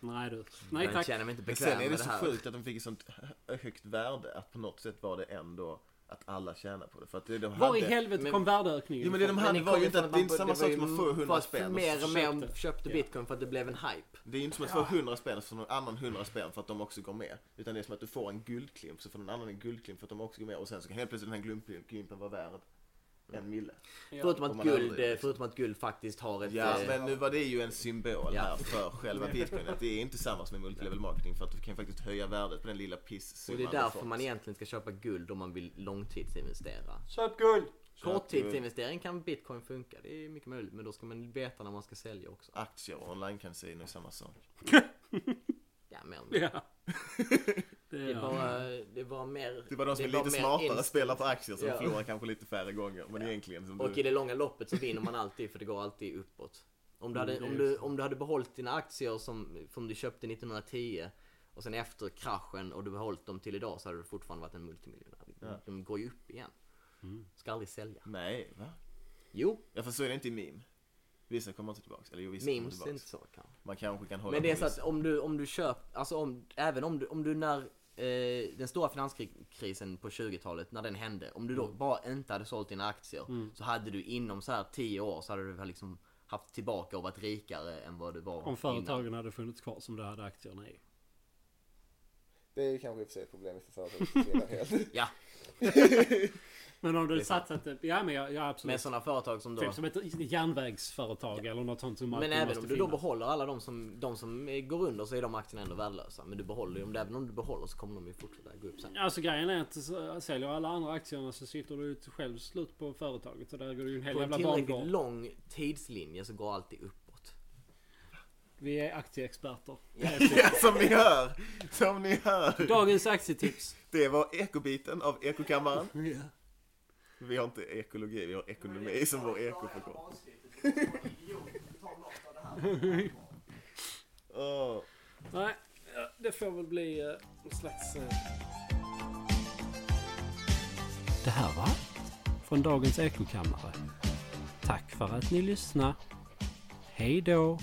Speaker 1: Nej du. Nej
Speaker 2: Jag
Speaker 1: tack.
Speaker 2: känner mig inte
Speaker 4: Men
Speaker 2: bekväm
Speaker 4: sen är det
Speaker 2: med det
Speaker 4: så
Speaker 2: här.
Speaker 4: sjukt att de fick ett sånt högt värde att på något sätt var det ändå att alla tjänar på det. För att det de
Speaker 1: Var i
Speaker 4: hade-
Speaker 1: helvete
Speaker 2: Men-
Speaker 1: kom värdeökningen
Speaker 4: Jo men det de
Speaker 1: ifrån?
Speaker 4: hade
Speaker 2: det
Speaker 4: var
Speaker 2: kom
Speaker 4: ju inte
Speaker 2: från
Speaker 4: att det är inte
Speaker 2: man-
Speaker 4: samma
Speaker 2: var
Speaker 4: sak
Speaker 2: ju
Speaker 4: som att få 100
Speaker 2: folk
Speaker 4: spänn.
Speaker 2: Mer och mer
Speaker 1: köpte.
Speaker 2: köpte bitcoin för att det blev en hype.
Speaker 4: Det är ju inte som att få 100 spänn från någon annan 100 spänn för att de också går med. Utan det är som att du får en guldklimp så får någon annan en guldklimp för att de också går med. Och sen så kan helt plötsligt den här glump- glimpen vara värd en mille.
Speaker 2: Förutom,
Speaker 4: Om
Speaker 2: att
Speaker 4: man
Speaker 2: guld,
Speaker 4: aldrig-
Speaker 2: eh, förutom att guld faktiskt har ett...
Speaker 4: Ja
Speaker 2: eh,
Speaker 4: men nu var det ju en symbol
Speaker 2: Ja.
Speaker 4: här för själva bitcoin. Att det är inte samma som i multilevel marketing för att du kan faktiskt höja värdet på den lilla
Speaker 2: och
Speaker 4: pissumman.
Speaker 2: det är
Speaker 4: du
Speaker 2: därför
Speaker 4: fått.
Speaker 2: man egentligen ska köpa guld om man vill långtidsinvestera.
Speaker 1: Köp guld!
Speaker 2: Korttidsinvestering kan bitcoin funka, det är mycket möjligt. Men då ska man veta när man ska sälja också.
Speaker 4: Aktier och online-casino är samma sak.
Speaker 2: Ja, men,
Speaker 1: *laughs* Ja. Det
Speaker 2: det,
Speaker 1: är
Speaker 2: var, det var mer...
Speaker 4: Det var de som är
Speaker 2: mer
Speaker 4: lite smartare
Speaker 2: inst-
Speaker 4: spelar på aktier som
Speaker 2: Ja.
Speaker 4: förlorar kanske lite färre gånger. Men egentligen som
Speaker 2: Och
Speaker 1: Mm.
Speaker 4: du...
Speaker 2: i det långa loppet så vinner man alltid för det går alltid uppåt. Om du hade,
Speaker 1: Mm, det
Speaker 2: om
Speaker 1: är
Speaker 2: du,
Speaker 1: just det.
Speaker 2: om du hade behållit dina aktier som, som du köpte 1910 Och sen efter kraschen och du behållit dem till idag så hade du fortfarande varit en multimiljonär.
Speaker 4: Ja.
Speaker 2: De går ju upp igen.
Speaker 1: Mm.
Speaker 2: Ska aldrig sälja.
Speaker 4: Nej, va?
Speaker 2: Jo,
Speaker 4: Ja, fast så är det inte i meme. Vissa kommer inte tillbaks. Eller jo, vissa kommer
Speaker 2: memes är
Speaker 4: tillbaks.
Speaker 2: inte så kanske.
Speaker 4: Man kanske kan hålla
Speaker 2: Men det är
Speaker 4: på
Speaker 2: så att
Speaker 4: vissa.
Speaker 2: om du, om du köper, alltså om, även om du, om du när eh, den stora finanskrisen på 20-talet, när den hände, om du då
Speaker 1: Mm.
Speaker 2: bara inte hade sålt dina aktier så hade du inom så här 10 år så hade du väl liksom haft tillbaka och varit rikare än vad du var
Speaker 1: Om
Speaker 2: innan.
Speaker 1: företagen hade funnits kvar som du hade aktierna i.
Speaker 3: Det är ju kanske i och för sig ett problem för företag som försvinner helt.
Speaker 2: Ja,
Speaker 1: Men om du
Speaker 2: är sant.
Speaker 1: satsat... Ja men ja, ja
Speaker 2: med
Speaker 1: absolut.
Speaker 2: sådana företag som då...
Speaker 1: Typ som ett järnvägsföretag eller något sånt som
Speaker 2: Men
Speaker 1: alltid
Speaker 2: även
Speaker 1: måste
Speaker 2: om du då
Speaker 1: finnas.
Speaker 2: behåller alla de som, de som eh, går under så är de aktierna ändå värdelösa. Men du behåller ju dem, även om du behåller så kommer de ju fortsätta gå upp sen.
Speaker 1: Alltså grejen är att så- säljer alla andra aktierna så sitter du ju själv slut på företaget. Så där går det ju en hel
Speaker 2: På en
Speaker 1: jävla
Speaker 2: tillräckligt
Speaker 1: bangård.
Speaker 2: lång tidslinje så går alltid uppåt.
Speaker 1: Vi är aktieexperter.
Speaker 4: *laughs* Ja, som ni hör! Som ni hör!
Speaker 1: Dagens
Speaker 2: *laughs*
Speaker 1: aktietips.
Speaker 4: Det var ekobiten av ekokammaren. Vi har inte ekologi, vi har ekonomi som vår ekoförkortning. Åh.
Speaker 1: Nej, ja, det får väl bli eh, en slags... eh,
Speaker 5: Det här var från dagens ekokammare. Tack för att ni lyssnade. Hej då!